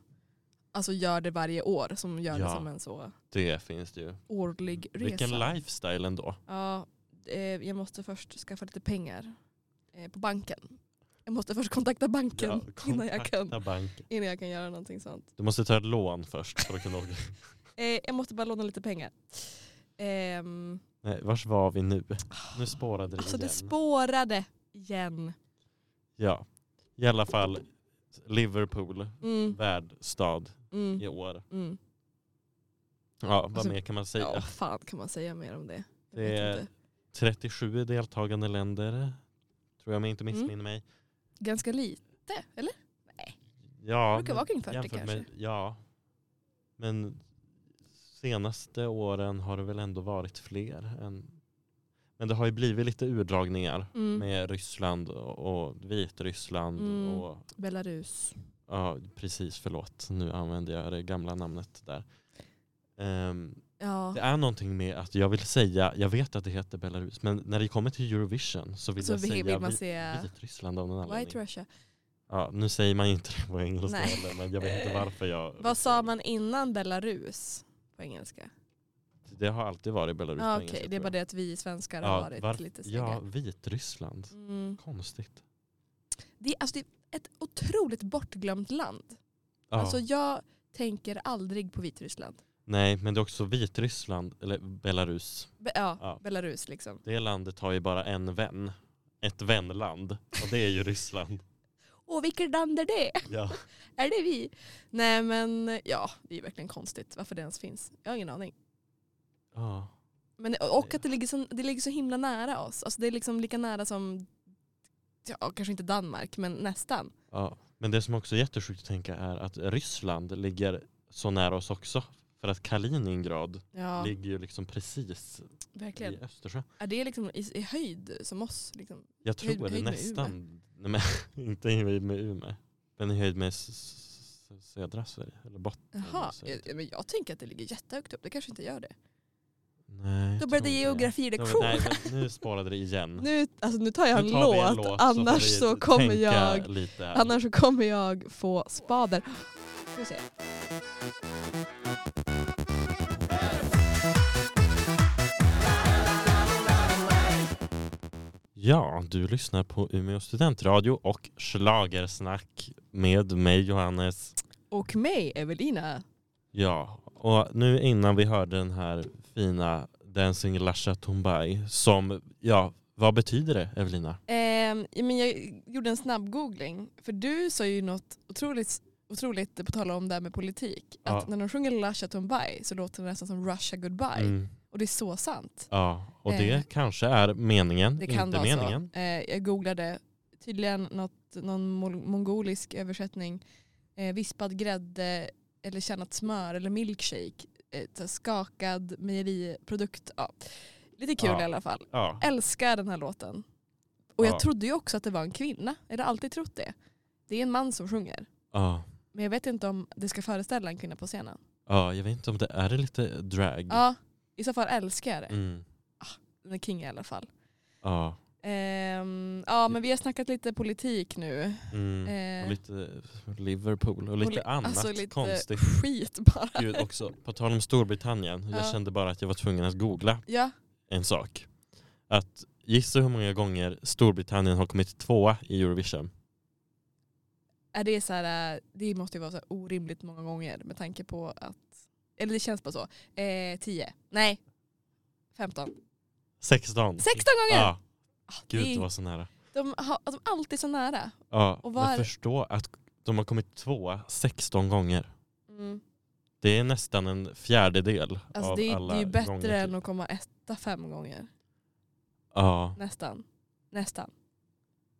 Speaker 2: alltså gör det varje år som gör det
Speaker 1: Ja.
Speaker 2: som en så
Speaker 1: det finns det ju.
Speaker 2: årlig resa.
Speaker 1: Vilken lifestyle ändå.
Speaker 2: Ja, eh, jag måste först skaffa lite pengar eh, på banken. Jag Jag måste först kontakta banken
Speaker 1: Ja,
Speaker 2: innan, jag kan,
Speaker 1: kontakta banken.
Speaker 2: innan jag kan göra någonting sånt.
Speaker 1: Du måste ta ett lån först för att kunna åka.
Speaker 2: Eh, jag måste bara låna lite pengar. Ehm,
Speaker 1: Nej, vars var vi nu? Nu spårade det
Speaker 2: alltså
Speaker 1: igen.
Speaker 2: det spårade igen.
Speaker 1: ja, i alla fall Liverpool,
Speaker 2: Mm,
Speaker 1: värdstad
Speaker 2: mm,
Speaker 1: i år.
Speaker 2: mm.
Speaker 1: Ja, vad
Speaker 2: Alltså,
Speaker 1: mer kan man säga?
Speaker 2: Ja, vad fan kan man säga mer om det? Jag
Speaker 1: Det
Speaker 2: vet
Speaker 1: är-
Speaker 2: inte.
Speaker 1: 37 deltagande länder, tror jag om jag
Speaker 2: Mm.
Speaker 1: inte missminner mig.
Speaker 2: Ganska lite, eller?
Speaker 1: Ja,
Speaker 2: Det brukar
Speaker 1: men
Speaker 2: vara kring 40
Speaker 1: jämfört
Speaker 2: kanske.
Speaker 1: med, ja, men senaste åren har det väl ändå varit fler. Än, men det har ju blivit lite urdragningar
Speaker 2: Mm.
Speaker 1: med Ryssland och, och Vitryssland
Speaker 2: Mm.
Speaker 1: och
Speaker 2: Belarus.
Speaker 1: Ja, precis. Förlåt. Nu använder jag det gamla namnet där. Ehm,
Speaker 2: Ja,
Speaker 1: det är någonting med att jag vill säga, jag vet att det heter Belarus, men när det kommer till Eurovision så vill
Speaker 2: så
Speaker 1: jag
Speaker 2: vill,
Speaker 1: säga
Speaker 2: vill man
Speaker 1: Vi-
Speaker 2: säga
Speaker 1: Vitryssland av någon
Speaker 2: White
Speaker 1: anledning.
Speaker 2: Russia.
Speaker 1: Ja, nu säger man inte det på engelska
Speaker 2: Nej.
Speaker 1: heller, men jag vet inte varför jag...
Speaker 2: Vad sa man innan Belarus på engelska?
Speaker 1: Det har alltid varit Belarus
Speaker 2: Ja,
Speaker 1: på
Speaker 2: Okej,
Speaker 1: engelska,
Speaker 2: det är
Speaker 1: tror
Speaker 2: bara
Speaker 1: jag.
Speaker 2: det att vi svenskar
Speaker 1: Ja,
Speaker 2: har varit
Speaker 1: varf-
Speaker 2: lite sega.
Speaker 1: Ja, Vitryssland.
Speaker 2: Mm.
Speaker 1: Konstigt.
Speaker 2: Det, är- alltså, det är ett otroligt bortglömt land.
Speaker 1: Ja.
Speaker 2: Alltså, jag tänker aldrig på Vitryssland.
Speaker 1: Nej, men det är också Vitryssland, eller Belarus.
Speaker 2: Be- ja,
Speaker 1: Ja.
Speaker 2: Belarus liksom.
Speaker 1: Det landet har ju bara en vän. Ett vänland. Och det är ju Ryssland.
Speaker 2: Och vilket land är det?
Speaker 1: Ja.
Speaker 2: Är det vi? Nej men ja, det är ju verkligen konstigt varför det ens finns. Jag har ingen aning.
Speaker 1: Ja.
Speaker 2: Men, och att det ligger, så, det ligger så himla nära oss. Alltså, det är liksom lika nära som, ja, kanske inte Danmark, men nästan.
Speaker 1: ja. Men det som också är jättesjukt att tänka är att Ryssland ligger så nära oss också. För att Kaliningrad
Speaker 2: Ja,
Speaker 1: ligger ju liksom precis
Speaker 2: verkligen.
Speaker 1: i Östersjön.
Speaker 2: Är det liksom i, i höjd som oss? Liksom?
Speaker 1: Jag tror
Speaker 2: höjd med
Speaker 1: nästan, nej men inte i höjd med Umeå. Men i höjd med s- s- södra Sverige. Eller botten.
Speaker 2: Jaha,
Speaker 1: av Sverige.
Speaker 2: eh, men jag tänker att det ligger jättehögt upp. Det kanske inte gör det.
Speaker 1: Nej,
Speaker 2: Då
Speaker 1: jag
Speaker 2: blev
Speaker 1: tror
Speaker 2: det
Speaker 1: inte
Speaker 2: geografilektion.
Speaker 1: Nej, men nu spårade det igen.
Speaker 2: Nu, alltså, nu tar jag en,
Speaker 1: Nu tar
Speaker 2: låt,
Speaker 1: vi
Speaker 2: annars
Speaker 1: får vi
Speaker 2: så kommer
Speaker 1: tänka
Speaker 2: jag
Speaker 1: Lite. här.
Speaker 2: Annars så kommer jag få spader. Ska vi se.
Speaker 1: Ja, du lyssnar på Umeå studentradio och Schlagersnack med mig Johannes
Speaker 2: Och mig, Evelina.
Speaker 1: Ja, och nu innan vi hörde den här fina Dancing Lasha Tumbai som, ja, vad betyder det Evelina?
Speaker 2: Ehm, ja, men jag gjorde en snabb googling. För du sa ju något otroligt, otroligt eh, på tal om det här med politik.
Speaker 1: Ja.
Speaker 2: Att när de sjunger Lasha Tumbai så låter det nästan som Russia Goodbye.
Speaker 1: Mm,
Speaker 2: Och det är så sant.
Speaker 1: ja, och det
Speaker 2: Eh,
Speaker 1: kanske är meningen,
Speaker 2: Det kan
Speaker 1: inte
Speaker 2: vara
Speaker 1: meningen.
Speaker 2: så. Eh, jag googlade tydligen något, någon mol- mongolisk översättning. Eh, vispad grädde eller kärnat smör eller milkshake. Eh, så här skakad mejeriprodukt. Ja. Lite kul
Speaker 1: Ja.
Speaker 2: i alla fall.
Speaker 1: Ja,
Speaker 2: Älskar den här låten. Och jag
Speaker 1: Ja.
Speaker 2: trodde ju också att det var en kvinna. Jag har alltid trott det. Det är en man som sjunger.
Speaker 1: ja,
Speaker 2: Men jag vet inte om det ska föreställa en kvinna på scenen.
Speaker 1: ja, jag vet inte om det är det lite drag.
Speaker 2: Ja, i så fall älskar jag det.
Speaker 1: Mm,
Speaker 2: Den är king i alla fall.
Speaker 1: ja,
Speaker 2: Ehm, ja men vi har snackat lite politik nu.
Speaker 1: mm.
Speaker 2: Eh,
Speaker 1: Och lite Liverpool och lite
Speaker 2: li-
Speaker 1: annat
Speaker 2: alltså lite
Speaker 1: konstigt.
Speaker 2: skit bara.
Speaker 1: Gud också, på tal om Storbritannien,
Speaker 2: Ja.
Speaker 1: jag kände bara att jag var tvungen att googla
Speaker 2: Ja,
Speaker 1: en sak. Att gissa hur många gånger Storbritannien har kommit tvåa i Eurovision?
Speaker 2: är det, så här, eh, det måste ju vara så här orimligt många gånger med tanke på att, eller det känns bara så. Eh, 10, nej 15,
Speaker 1: 16.
Speaker 2: 16 gånger!
Speaker 1: Ja,
Speaker 2: Ah, det
Speaker 1: gud
Speaker 2: är-
Speaker 1: det var så nära.
Speaker 2: de, har, alltså, de är alltid så nära.
Speaker 1: Ja,
Speaker 2: Och var-
Speaker 1: men förstå att de har kommit tvåa 16 gånger.
Speaker 2: Mm.
Speaker 1: Det är nästan en fjärdedel
Speaker 2: Alltså
Speaker 1: av
Speaker 2: det, är, det
Speaker 1: alla
Speaker 2: är ju bättre
Speaker 1: gånger. typ.
Speaker 2: än att komma etta fem gånger.
Speaker 1: Ja,
Speaker 2: Nästan. Nästan.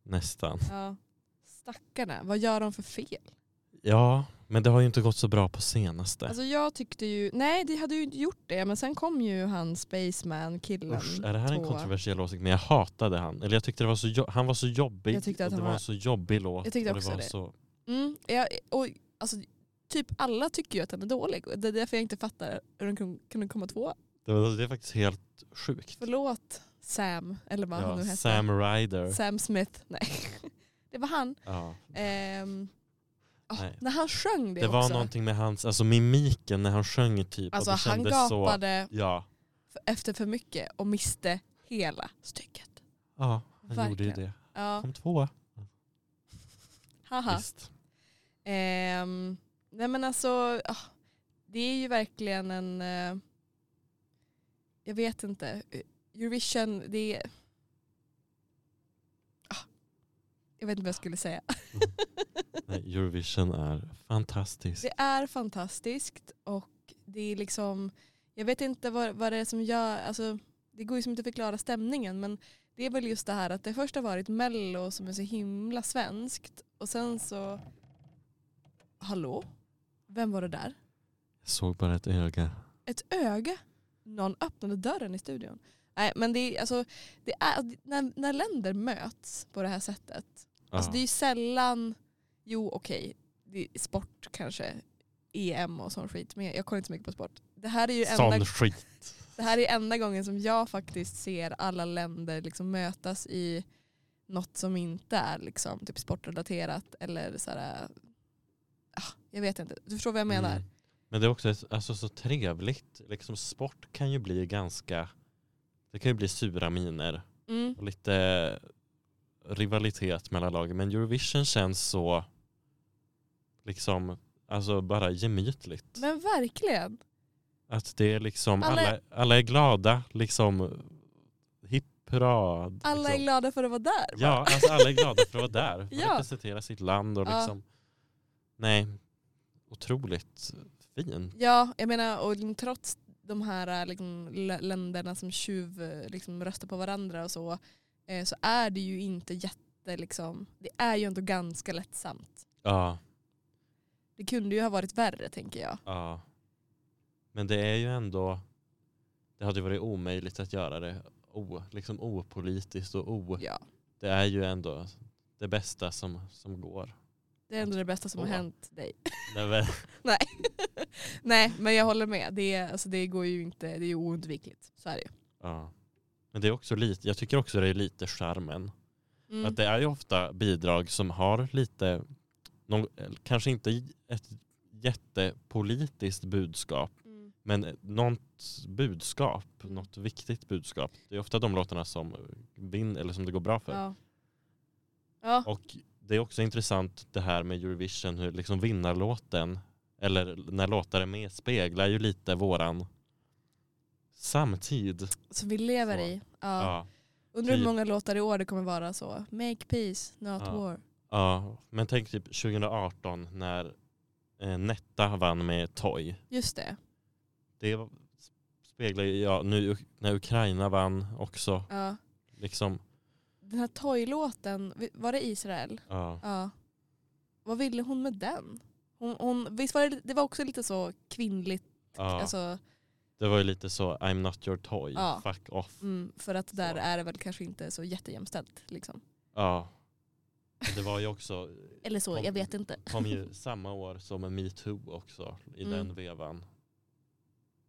Speaker 1: nästan.
Speaker 2: Ja. Stackarna, vad gör de för fel?
Speaker 1: Ja, men det har ju inte gått så bra på senaste.
Speaker 2: Alltså jag tyckte ju, nej det hade ju inte gjort det men sen kom ju han spaceman killen.
Speaker 1: Usch, är det här en
Speaker 2: tvåa.
Speaker 1: kontroversiell åsikt? Men jag hatade han. Eller jag tyckte det var så, jo- han var så jobbig.
Speaker 2: Jag tyckte att
Speaker 1: och det
Speaker 2: han
Speaker 1: var
Speaker 2: var-
Speaker 1: en så jobbig låt.
Speaker 2: Jag tyckte
Speaker 1: och
Speaker 2: också
Speaker 1: det. Var
Speaker 2: det.
Speaker 1: Så...
Speaker 2: Mm, jag, och, alltså, typ alla tycker ju att den är dålig. Och Det är därför jag inte fattar hur den kun- kunde komma två.
Speaker 1: Det, var, det är faktiskt helt sjukt.
Speaker 2: Förlåt Sam, eller vad han nu
Speaker 1: Ja,
Speaker 2: hette.
Speaker 1: Sam Ryder.
Speaker 2: Sam Smith. Nej, det var han.
Speaker 1: Ja.
Speaker 2: Ehm, ah,
Speaker 1: Nej.
Speaker 2: när han sjöng det,
Speaker 1: Det var
Speaker 2: också.
Speaker 1: någonting med hans, alltså mimiken när han sjöng typ. och
Speaker 2: alltså
Speaker 1: det
Speaker 2: han
Speaker 1: kändes Så,
Speaker 2: gapade
Speaker 1: ja.
Speaker 2: f- efter för mycket och miste hela stycket.
Speaker 1: Ja, han
Speaker 2: Verkligen.
Speaker 1: gjorde ju det.
Speaker 2: Ja,
Speaker 1: Kom tvåa.
Speaker 2: Haha.
Speaker 1: Visst.
Speaker 2: Ehm, nej men alltså, ah, det är ju verkligen en, eh, jag vet inte, Eh, Eurovision, det är, ah, jag vet inte vad jag skulle säga.
Speaker 1: Nej, Eurovision är fantastiskt.
Speaker 2: Det är fantastiskt och det är liksom, jag vet inte vad, vad det är som gör, alltså, det går ju som inte att förklara stämningen men det är väl just det här att det först har varit mello som är så himla svenskt och sen så, hallå, vem var det där?
Speaker 1: Jag såg bara ett öga.
Speaker 2: ett öga. Någon öppnade dörren i studion. Nej men det är, alltså, det är när, när länder möts på det här sättet.
Speaker 1: Ja.
Speaker 2: Alltså det är ju sällan, jo okej, det är sport kanske, EM och sån skit. Men jag kollar inte så mycket på sport. Det här är ju
Speaker 1: Sån
Speaker 2: enda,
Speaker 1: skit.
Speaker 2: det här är enda gången som jag faktiskt ser alla länder liksom mötas i något som inte är liksom, typ sportrelaterat eller sådär, ah, jag vet inte. Du förstår vad jag menar?
Speaker 1: Mm. Men det är också ett, alltså, så trevligt. Liksom, sport kan ju bli ganska, det kan ju bli sura miner
Speaker 2: Mm.
Speaker 1: och lite rivalitet mellan lagen. Men Eurovision känns så, liksom, alltså bara gemytligt.
Speaker 2: Men verkligen.
Speaker 1: Att det är liksom,
Speaker 2: Alla-
Speaker 1: alla, alla, är glada, liksom hipp hurra.
Speaker 2: Alla är
Speaker 1: liksom.
Speaker 2: glada för att vara där.
Speaker 1: Ja, alltså alla är glada för att vara där. För
Speaker 2: Ja.
Speaker 1: att representera sitt land och
Speaker 2: Ja.
Speaker 1: liksom, nej, otroligt fin.
Speaker 2: Ja, jag menar och liksom, trots de här eh, liksom, l- länderna som tjuv eh, liksom, röstar på varandra och så, eh, så är det ju inte jätte, liksom, det är ju ändå ganska lättsamt.
Speaker 1: Ja.
Speaker 2: Det kunde ju ha varit värre tänker jag.
Speaker 1: Ja. Men det är ju ändå, det hade ju varit omöjligt att göra det o, liksom opolitiskt och o,
Speaker 2: Ja,
Speaker 1: det är ju ändå det bästa som, som går.
Speaker 2: det är ändå det bästa som har
Speaker 1: Åh.
Speaker 2: hänt dig.
Speaker 1: Nej, men,
Speaker 2: Nej, men jag håller med. Det, är- alltså, det går ju inte, det är ju oundvikligt. Så är det ju.
Speaker 1: ja. men det är också lite, jag tycker också det är lite charmen.
Speaker 2: Mm.
Speaker 1: Att det är ju ofta bidrag som har lite, någon, kanske inte ett jättepolitiskt budskap,
Speaker 2: Mm.
Speaker 1: men något budskap, något viktigt budskap. Det är ofta de låtarna som vinner, eller som det går bra för.
Speaker 2: Ja. Ja.
Speaker 1: Och det är också intressant det här med Eurovision, hur liksom vinnarlåten, eller när låtar är med, speglar ju lite våran samtid.
Speaker 2: Som vi lever
Speaker 1: Så.
Speaker 2: i.
Speaker 1: Ja.
Speaker 2: Ja.
Speaker 1: Ja.
Speaker 2: Undrar hur
Speaker 1: Typ.
Speaker 2: många låtar i år det kommer vara så. Make peace, not
Speaker 1: Ja.
Speaker 2: war.
Speaker 1: Men tänk typ 2018 när eh, Netta vann med Toy.
Speaker 2: Just det.
Speaker 1: Det var- speglar ju, ja, nu när Ukraina vann också.
Speaker 2: Ja.
Speaker 1: Liksom,
Speaker 2: Den här Toy-låten, vi- var det Israel?
Speaker 1: ja.
Speaker 2: Ja. Vad ville hon med den? Hon, hon, visst var det, det var också lite så kvinnligt,
Speaker 1: Ja.
Speaker 2: alltså,
Speaker 1: Det var ju lite så, I'm not your toy,
Speaker 2: Ja.
Speaker 1: fuck off.
Speaker 2: mm, för att där
Speaker 1: Så.
Speaker 2: är det väl kanske inte så jättejämställt. Liksom.
Speaker 1: Ja. Det var ju också
Speaker 2: Eller så,
Speaker 1: Om-
Speaker 2: jag vet inte.
Speaker 1: kom ju samma år som metoo också i
Speaker 2: Mm.
Speaker 1: den vevan.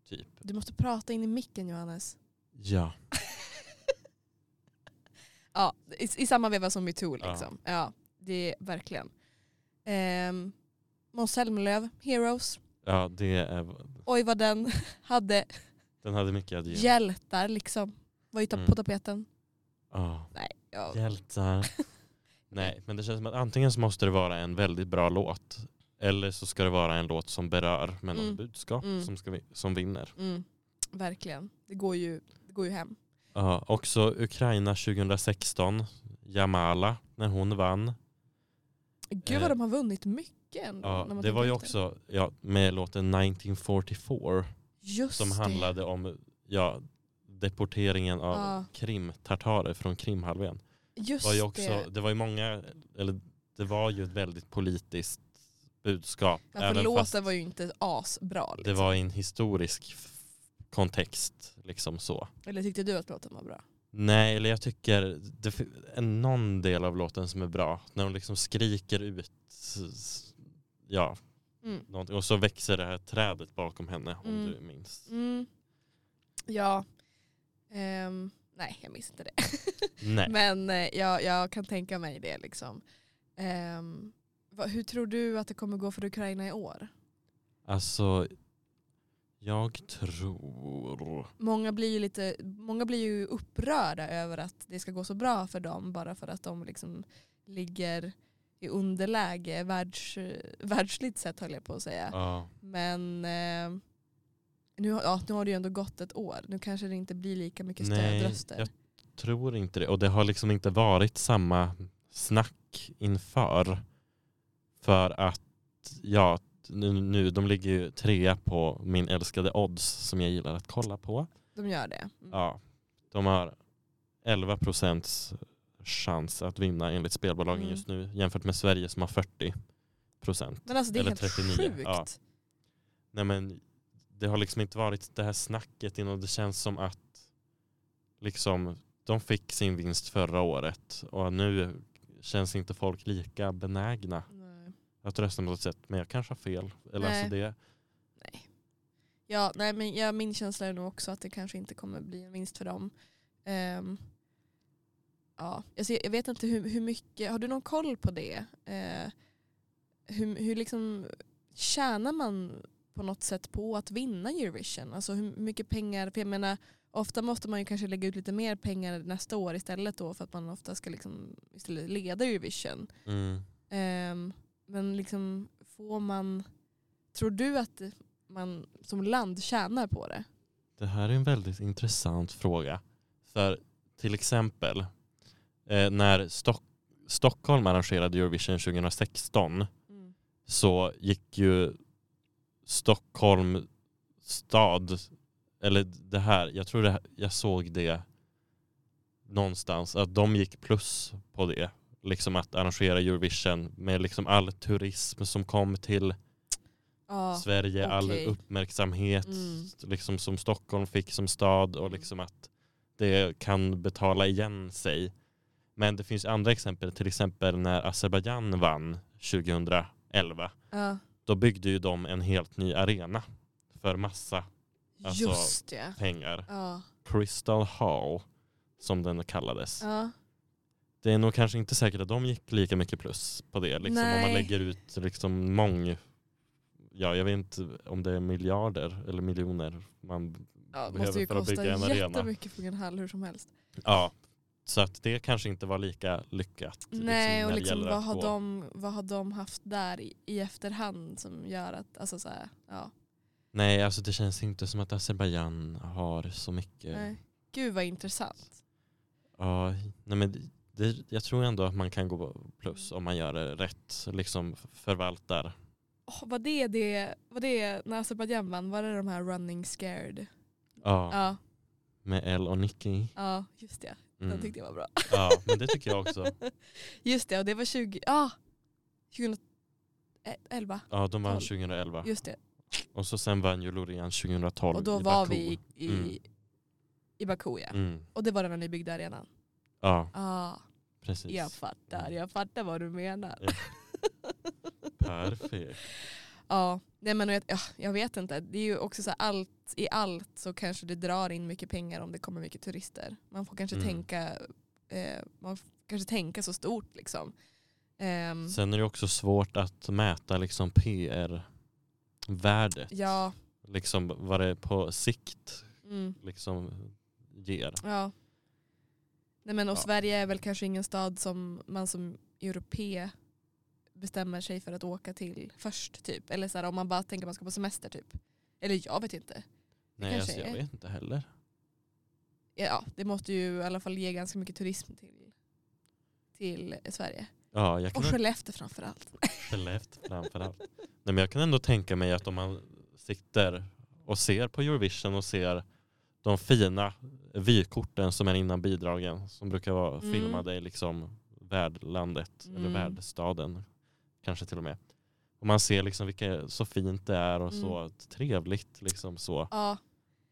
Speaker 1: Typ.
Speaker 2: Du måste prata in i micken Johannes.
Speaker 1: Ja.
Speaker 2: Ja, i, i samma veva som metoo
Speaker 1: Ja.
Speaker 2: liksom. Ja. det är verkligen. Ehm, Måns Zelmerlöw, Heroes.
Speaker 1: ja det är,
Speaker 2: Oj vad den hade
Speaker 1: den hade mycket att ge.
Speaker 2: hjältar liksom. Var ju ta-
Speaker 1: Mm.
Speaker 2: på tapeten.
Speaker 1: Ja.
Speaker 2: Ja.
Speaker 1: Hjältar. Nej, men det känns som att antingen så måste det vara en väldigt bra låt eller så ska det vara en låt som berör med något
Speaker 2: Mm.
Speaker 1: budskap
Speaker 2: Mm.
Speaker 1: Som, ska vi, som vinner.
Speaker 2: Mm, verkligen. Det går ju, det går ju hem.
Speaker 1: Ja, också Ukraina 2016, Jamala, när hon
Speaker 2: Mm,
Speaker 1: vann.
Speaker 2: Gud vad
Speaker 1: Eh,
Speaker 2: de har vunnit mycket ändå.
Speaker 1: Ja,
Speaker 2: när man
Speaker 1: det var
Speaker 2: tänker
Speaker 1: ju
Speaker 2: efter.
Speaker 1: också ja, med låten 1944.
Speaker 2: Just
Speaker 1: som
Speaker 2: det.
Speaker 1: handlade om ja, deporteringen av
Speaker 2: Ja.
Speaker 1: krimtartarer från Krimhalvön. Det
Speaker 2: Just
Speaker 1: var ju också,
Speaker 2: det.
Speaker 1: det var ju många, eller det var ju ett väldigt politiskt budskap.
Speaker 2: Ja, för låten var ju inte asbra. Liksom.
Speaker 1: det var i en historisk f- kontext liksom så.
Speaker 2: Eller tyckte du att låten var bra?
Speaker 1: Nej, eller jag tycker det f- är någon del av låten som är bra. När de liksom skriker ut s- s- ja,
Speaker 2: Mm.
Speaker 1: någonting. Och så växer det här trädet bakom henne om
Speaker 2: Mm.
Speaker 1: du minns.
Speaker 2: Mm. Ja. Ehm, nej, jag minns inte det.
Speaker 1: Nej.
Speaker 2: Men eh, jag, jag kan tänka mig det liksom. Ehm, vad- hur tror du att det kommer gå för Ukraina i år?
Speaker 1: Alltså, jag tror...
Speaker 2: Många blir ju, lite, många blir ju upprörda över att det ska gå så bra för dem bara för att de liksom ligger i underläge världs, världsligt sett höll jag på att säga.
Speaker 1: Ja.
Speaker 2: Men eh, nu, har- ja, nu har det ju ändå gått ett år. Nu kanske det inte blir lika mycket
Speaker 1: Nej,
Speaker 2: stödröster.
Speaker 1: jag- Tror inte det. Och det har liksom inte varit samma snack inför. För att, ja, nu, nu de ligger ju trea på min älskade odds som jag gillar att kolla på.
Speaker 2: De gör det. Mm.
Speaker 1: Ja, de har 11 procents chans att vinna enligt spelbolagen
Speaker 2: Mm.
Speaker 1: just nu jämfört med Sverige som har 40 procent.
Speaker 2: Men alltså det är
Speaker 1: Eller
Speaker 2: helt
Speaker 1: 39,
Speaker 2: sjukt.
Speaker 1: ja. Nej men det har liksom inte varit det här snacket innan. Det känns som att liksom de fick sin vinst förra året och nu känns inte folk lika benägna
Speaker 2: Nej.
Speaker 1: att rösta på något sätt. Men jag kanske har fel. Eller
Speaker 2: Nej.
Speaker 1: alltså det.
Speaker 2: Ja, nej, men ja, min känsla är nog också att det kanske inte kommer bli en vinst för dem. Ehm, ja, alltså, jag jag vet inte hur, hur mycket, har du någon koll på det? Eh, hur, hur liksom tjänar man på något sätt på att vinna Eurovision? Alltså hur mycket pengar, för jag menar ofta måste man ju kanske lägga ut lite mer pengar nästa år istället då för att man ofta ska liksom istället leda Eurovision.
Speaker 1: Mm.
Speaker 2: Ehm, men liksom får man, tror du att man som land tjänar på det?
Speaker 1: Det här är en väldigt intressant fråga. För till exempel eh, när Stock Stockholm arrangerade Eurovision 2016 så gick ju Stockholm stad, eller det här, jag tror det här, jag såg det någonstans, att de gick plus på det. Liksom att arrangera Eurovision med liksom all turism som kom till
Speaker 2: Ja,
Speaker 1: Sverige, all
Speaker 2: okej.
Speaker 1: uppmärksamhet
Speaker 2: Mm.
Speaker 1: liksom som Stockholm fick som stad och
Speaker 2: Mm.
Speaker 1: liksom att det kan betala igen sig. Men det finns andra exempel, till exempel när Azerbajdzjan vann 2011.
Speaker 2: ja.
Speaker 1: Då byggde ju de en helt ny arena för massa Alltså-
Speaker 2: just det.
Speaker 1: pengar.
Speaker 2: Ja.
Speaker 1: Crystal Hall som den kallades.
Speaker 2: Ja.
Speaker 1: Det är nog kanske inte säkert att de gick lika mycket plus på det. Liksom, om man
Speaker 2: Nej.
Speaker 1: lägger ut liksom mång, ja jag vet inte om det är miljarder eller miljoner man
Speaker 2: Ja, det
Speaker 1: behöver
Speaker 2: måste ju
Speaker 1: för att
Speaker 2: kosta
Speaker 1: bygga en arena.
Speaker 2: jättemycket för en hall hur som helst.
Speaker 1: Ja, så att det kanske inte var lika lyckat.
Speaker 2: Nej, och
Speaker 1: när Alltså, det
Speaker 2: liksom,
Speaker 1: gäller
Speaker 2: vad,
Speaker 1: att
Speaker 2: har
Speaker 1: gå.
Speaker 2: de, vad har de haft där i, i efterhand som gör att, alltså så här, ja.
Speaker 1: Nej, alltså det känns inte som att Azerbajdzjan har så mycket.
Speaker 2: Nej. Gud vad intressant.
Speaker 1: Ja, nej men det, jag tror ändå att man kan gå plus om man gör det rätt. Liksom förvaltar.
Speaker 2: Oh, var det det, var det när Azerbajdzjan vann, var det de här running scared?
Speaker 1: Ja,
Speaker 2: Ja,
Speaker 1: med L och Nicky.
Speaker 2: ja just det. Den
Speaker 1: Mm.
Speaker 2: tyckte jag var bra.
Speaker 1: Ja, men det tycker jag också.
Speaker 2: Just det, och det var 20, ja, 2011.
Speaker 1: Ja, de vann
Speaker 2: Tolv.
Speaker 1: 2011.
Speaker 2: Just det.
Speaker 1: Och så sen vann ju Loreen 2012
Speaker 2: Och då
Speaker 1: i
Speaker 2: var
Speaker 1: Baku.
Speaker 2: vi i,
Speaker 1: Mm.
Speaker 2: i Baku ja.
Speaker 1: Mm.
Speaker 2: Och det var den här nybyggda arenan.
Speaker 1: Ja,
Speaker 2: Ah,
Speaker 1: precis.
Speaker 2: jag fattar,
Speaker 1: Mm.
Speaker 2: jag fattar vad du menar.
Speaker 1: Ja. Perfekt.
Speaker 2: Ja, nej men jag, ja, jag vet inte. Det är ju också så här, allt i allt så kanske det drar in mycket pengar om det kommer mycket turister. Man får kanske
Speaker 1: Mm.
Speaker 2: tänka eh, man får kanske tänka så stort liksom. Ehm,
Speaker 1: Sen är det också svårt att mäta liksom PR-värdet.
Speaker 2: ja,
Speaker 1: Liksom vad det på sikt
Speaker 2: mm,
Speaker 1: liksom ger.
Speaker 2: ja. Nej men och
Speaker 1: Ja.
Speaker 2: Sverige är väl kanske ingen stad som man som europé bestämmer sig för att åka till först typ. Eller så här, om man bara tänker att man ska på semester typ. Eller jag vet inte.
Speaker 1: Nej,
Speaker 2: kanske
Speaker 1: alltså, jag
Speaker 2: är.
Speaker 1: vet inte heller.
Speaker 2: ja, det måste ju i alla fall ge ganska mycket turism till, till Sverige.
Speaker 1: Ja, jag kan
Speaker 2: Och Skellefteå framförallt.
Speaker 1: Skellefteå framförallt. Nej, men jag kan ändå tänka mig att om man sitter och ser på Eurovision och ser de fina vykorten som är innan bidragen som brukar vara
Speaker 2: Mm.
Speaker 1: filmade i liksom värdlandet eller
Speaker 2: Mm.
Speaker 1: värdstaden kanske till och med. Och man ser liksom vilka, så fint det är och
Speaker 2: Mm.
Speaker 1: så trevligt liksom så.
Speaker 2: Ja,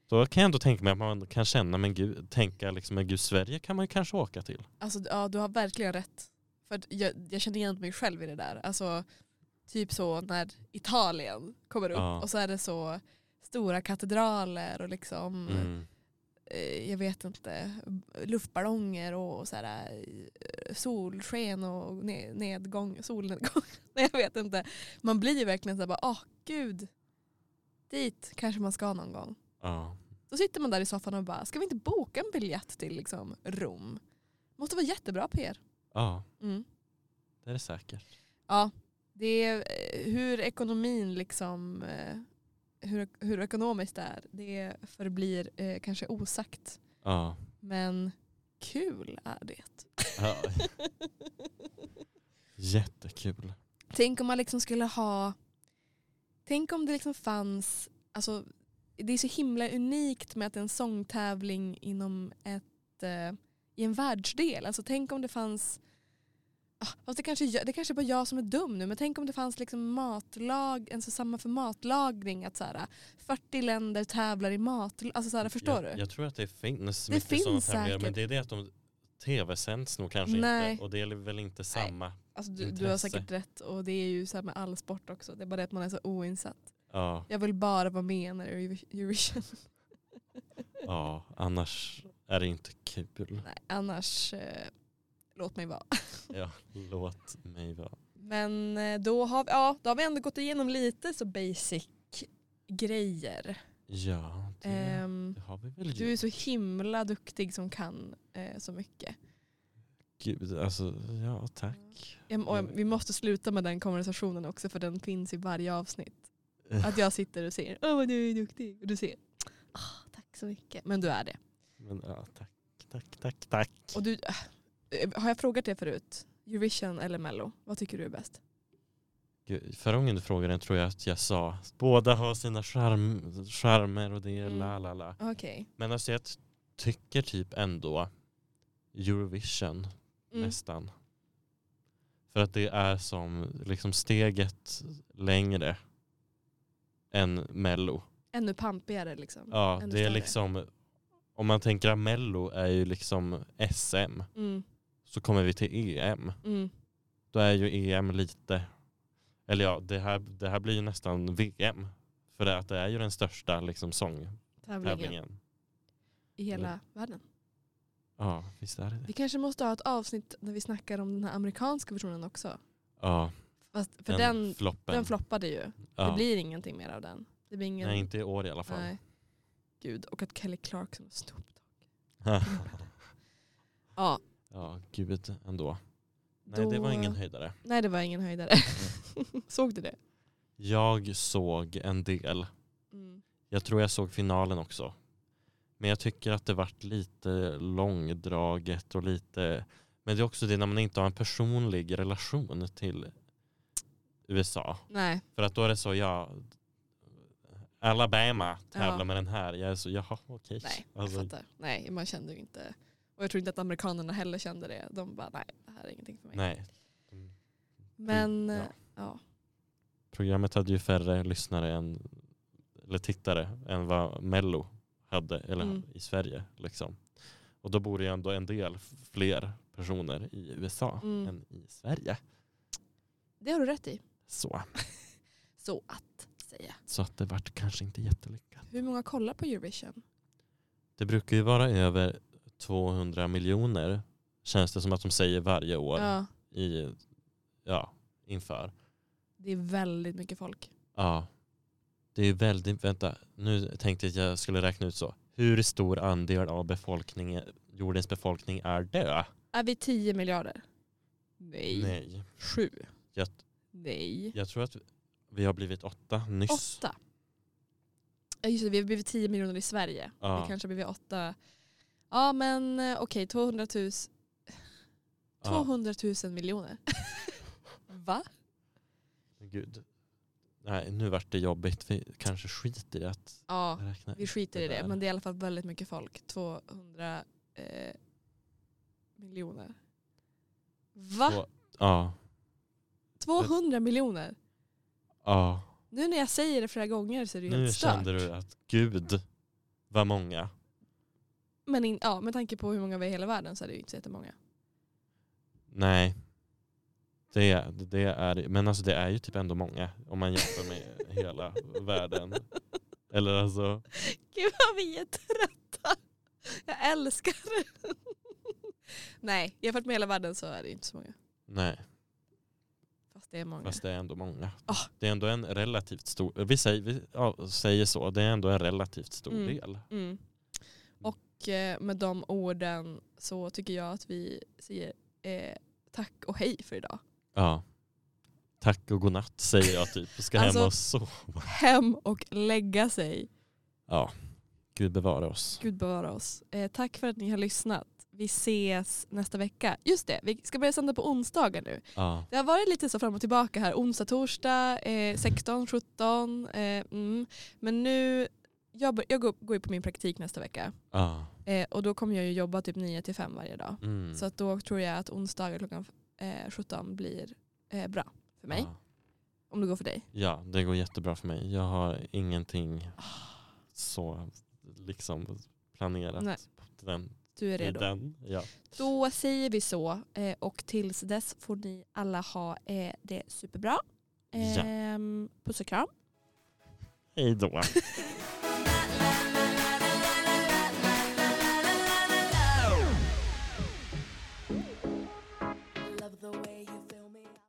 Speaker 1: Då kan jag ändå tänka mig att man kan känna, men gud, tänka liksom, men gud, Sverige kan man ju kanske åka till.
Speaker 2: alltså, ja, du har verkligen rätt. För att jag, jag känner igen mig själv i det där. Alltså, typ så när Italien kommer upp
Speaker 1: Ja.
Speaker 2: och så är det så stora katedraler och liksom,
Speaker 1: Mm.
Speaker 2: eh, jag vet inte, luftballonger och så här, eh, solsken och ne- nedgång, solnedgång. Nej, jag vet inte. Man blir ju verkligen så här bara, åh gud, dit kanske man ska någon gång.
Speaker 1: Ja.
Speaker 2: Då sitter man där i soffan och bara, ska vi inte boka en biljett till liksom Rom? Måste vara jättebra PR.
Speaker 1: ja,
Speaker 2: Mm.
Speaker 1: det Det är det säkert.
Speaker 2: Ja, det är eh, hur ekonomin liksom, eh, hur, hur ekonomiskt det är, det förblir eh, kanske osagt.
Speaker 1: Ja.
Speaker 2: Men kul är det.
Speaker 1: Ja. Jättekul.
Speaker 2: Tänk om man liksom skulle ha, tänk om det liksom fanns, alltså det är så himla unikt med att det är en sångtävling inom ett, eh, i en världsdel. Alltså tänk om det fanns, ah, fast det kanske, jag- det kanske är bara jag som är dum nu, men tänk om det fanns liksom matlag, en så samma för matlagning, att så här, 40 länder tävlar i mat, alltså så här,
Speaker 1: jag,
Speaker 2: förstår du?
Speaker 1: Jag tror att det finns
Speaker 2: Det
Speaker 1: mycket sådana
Speaker 2: finns
Speaker 1: tävlingar men
Speaker 2: säkert.
Speaker 1: det är det att de tv-sänds nog kanske
Speaker 2: Nej.
Speaker 1: inte och det är väl inte samma.
Speaker 2: Alltså, du, du har
Speaker 1: intresse.
Speaker 2: säkert rätt och det är ju så här med all sport också, det är bara det att man är så oinsatt.
Speaker 1: Ja,
Speaker 2: Jag vill bara vara med när det är Eurovision.
Speaker 1: ja, annars är det inte kul.
Speaker 2: Nej, annars eh, låt mig vara.
Speaker 1: Ja, låt mig vara.
Speaker 2: Men eh, då har, vi, ja, då har vi ändå gått igenom lite så basic grejer.
Speaker 1: Ja, det,
Speaker 2: Ehm,
Speaker 1: det har vi väl
Speaker 2: du är
Speaker 1: gjort.
Speaker 2: så himla duktig som kan eh, så mycket.
Speaker 1: Gud, alltså, ja tack.
Speaker 2: Jag, och jag, vi måste sluta med den konversationen också för den finns i varje avsnitt.
Speaker 1: Eh.
Speaker 2: Att jag sitter och säger åh vad du är duktig och du säger ah, tack så mycket. Men du är det.
Speaker 1: Men, ja, tack, tack, tack, tack.
Speaker 2: Och du, eh, har jag frågat dig förut? Eurovision eller Mello? Vad tycker du är bäst?
Speaker 1: Gud, Förra gången du frågade den tror jag att jag sa båda har sina charm, charmer och det är
Speaker 2: Mm.
Speaker 1: la la la.
Speaker 2: Okej.
Speaker 1: Men alltså jag tycker typ ändå Eurovision
Speaker 2: Mm.
Speaker 1: nästan. För att det är som liksom steget längre än Mello.
Speaker 2: Ännu pampigare liksom.
Speaker 1: Ja,
Speaker 2: Mm, Ännu
Speaker 1: det är
Speaker 2: större.
Speaker 1: liksom om man tänker att Mello är ju liksom SM
Speaker 2: Mm,
Speaker 1: så kommer vi till EM.
Speaker 2: mm.
Speaker 1: Då är ju EM lite eller ja, det här, det här blir ju nästan VM. För det, att det är ju den största liksom sångtävlingen.
Speaker 2: Tävlingen. i
Speaker 1: Mm.
Speaker 2: hela världen.
Speaker 1: Ja, visst är det det.
Speaker 2: Vi kanske måste ha ett avsnitt där vi snackar om den här amerikanska versionen också.
Speaker 1: Ja,
Speaker 2: Fast för den, den,
Speaker 1: floppen.
Speaker 2: floppade ju.
Speaker 1: ja.
Speaker 2: Det blir ingenting mer av den. Det blir ingen...
Speaker 1: Nej, inte i år i alla fall.
Speaker 2: Nej. Gud, och att Kelly Clarkson och Snoop Dogg. Ja,
Speaker 1: ja, gud ändå. Nej,
Speaker 2: då...
Speaker 1: det var ingen höjdare. Mm.
Speaker 2: Nej, det var ingen höjdare. Såg du det?
Speaker 1: Jag såg en del.
Speaker 2: Mm.
Speaker 1: Jag tror jag såg finalen också. Men jag tycker att det vart lite långdraget och lite... Men det är också det när man inte har en personlig relation till USA.
Speaker 2: Nej,
Speaker 1: För att då är det så, ja... Alabama tävlar
Speaker 2: Ja.
Speaker 1: med den här. Jag är så, jaha okej.
Speaker 2: nej, jag
Speaker 1: Alltså,
Speaker 2: fattar. Nej, man kände ju inte. Och jag tror inte att amerikanerna heller kände det. De bara, nej, det här är ingenting för mig.
Speaker 1: nej. Mm.
Speaker 2: Men, eh,
Speaker 1: Ja.
Speaker 2: ja.
Speaker 1: Programmet hade ju färre lyssnare än, eller tittare än vad Mello hade eller
Speaker 2: Mm.
Speaker 1: i Sverige. Liksom. Och då bor ju ändå en del fler personer i USA
Speaker 2: Mm.
Speaker 1: än i Sverige.
Speaker 2: Det har du rätt i.
Speaker 1: Så,
Speaker 2: Så att säga.
Speaker 1: så att det vart kanske inte jättelyckat.
Speaker 2: Hur många kollar på Eurovision?
Speaker 1: Det brukar ju vara över 200 miljoner känns det som att de säger varje år
Speaker 2: Ja,
Speaker 1: i, ja, inför.
Speaker 2: det är väldigt mycket folk.
Speaker 1: Ja. Det är ju väldigt, vänta, nu tänkte jag att jag skulle räkna ut så. Hur stor andel av befolkningen, jordens befolkning är död?
Speaker 2: Är vi 10 miljarder? Nej.
Speaker 1: Nej.
Speaker 2: Sju?
Speaker 1: Jag,
Speaker 2: Nej.
Speaker 1: jag tror att vi har blivit åtta nyss.
Speaker 2: Åtta? Ja, Just det, vi har blivit 10 miljoner i Sverige.
Speaker 1: Ja.
Speaker 2: Vi kanske har blivit åtta. Ja men eh, okej, 200 000, 200 000 miljoner. Va?
Speaker 1: Ja, gud. Nej, nu vart det jobbigt. Vi kanske skiter i att
Speaker 2: Ja,
Speaker 1: räkna.
Speaker 2: vi skiter i
Speaker 1: Det
Speaker 2: det.
Speaker 1: där.
Speaker 2: Men det är i alla fall väldigt mycket folk. 200 eh, miljoner. Va?
Speaker 1: Två- Ja.
Speaker 2: 200 miljoner?
Speaker 1: ja.
Speaker 2: Nu när jag säger det flera gånger så är det ju
Speaker 1: Nu
Speaker 2: helt stört.
Speaker 1: kände du att gud vad många.
Speaker 2: Men in, ja, med tanke på hur många vi är i hela världen så är det ju inte så jättemånga.
Speaker 1: Nej. Det, det är, men alltså det är ju typ ändå många om man jämför med hela världen. Eller alltså,
Speaker 2: Gud vad vi är trötta. Jag älskar det. Nej, jämfört med hela världen så är det ju inte så många.
Speaker 1: nej,
Speaker 2: Fast det är många.
Speaker 1: fast det är ändå många.
Speaker 2: Ah.
Speaker 1: Det är ändå en relativt stor, vi säger, vi, ja, säger så, det är ändå en relativt stor
Speaker 2: Mm.
Speaker 1: del.
Speaker 2: Mm. Och eh, med de orden så tycker jag att vi säger eh, tack och hej för idag.
Speaker 1: Ja. Tack och godnatt säger jag typ och ska
Speaker 2: Alltså-
Speaker 1: hem och sova.
Speaker 2: Hem och lägga sig.
Speaker 1: Ja. Gud bevara oss.
Speaker 2: Gud bevara oss. Eh, tack för att ni har lyssnat. Vi ses nästa vecka. Just det, vi ska börja sända på onsdagar nu.
Speaker 1: Ja.
Speaker 2: Det har varit lite så fram och tillbaka här. Onsdag, torsdag, eh, 16, 17. Eh, mm. Men nu, jag, bör, jag går, går ju på min praktik nästa vecka.
Speaker 1: ja.
Speaker 2: Eh, och då kommer jag ju jobba typ 9 till 5 varje dag.
Speaker 1: Mm.
Speaker 2: Så att då tror jag att onsdagar klockan eh, 17 blir eh, bra för mig.
Speaker 1: Ja.
Speaker 2: Om det går för dig.
Speaker 1: Ja, det går jättebra för mig. Jag har ingenting så liksom planerat
Speaker 2: Nej.
Speaker 1: på den.
Speaker 2: Du är
Speaker 1: I
Speaker 2: redo.
Speaker 1: den. Ja.
Speaker 2: Då säger vi så. Eh, och tills dess får ni alla ha eh, det superbra.
Speaker 1: Ja.
Speaker 2: Ehm, Puss och kram.
Speaker 1: Hej då.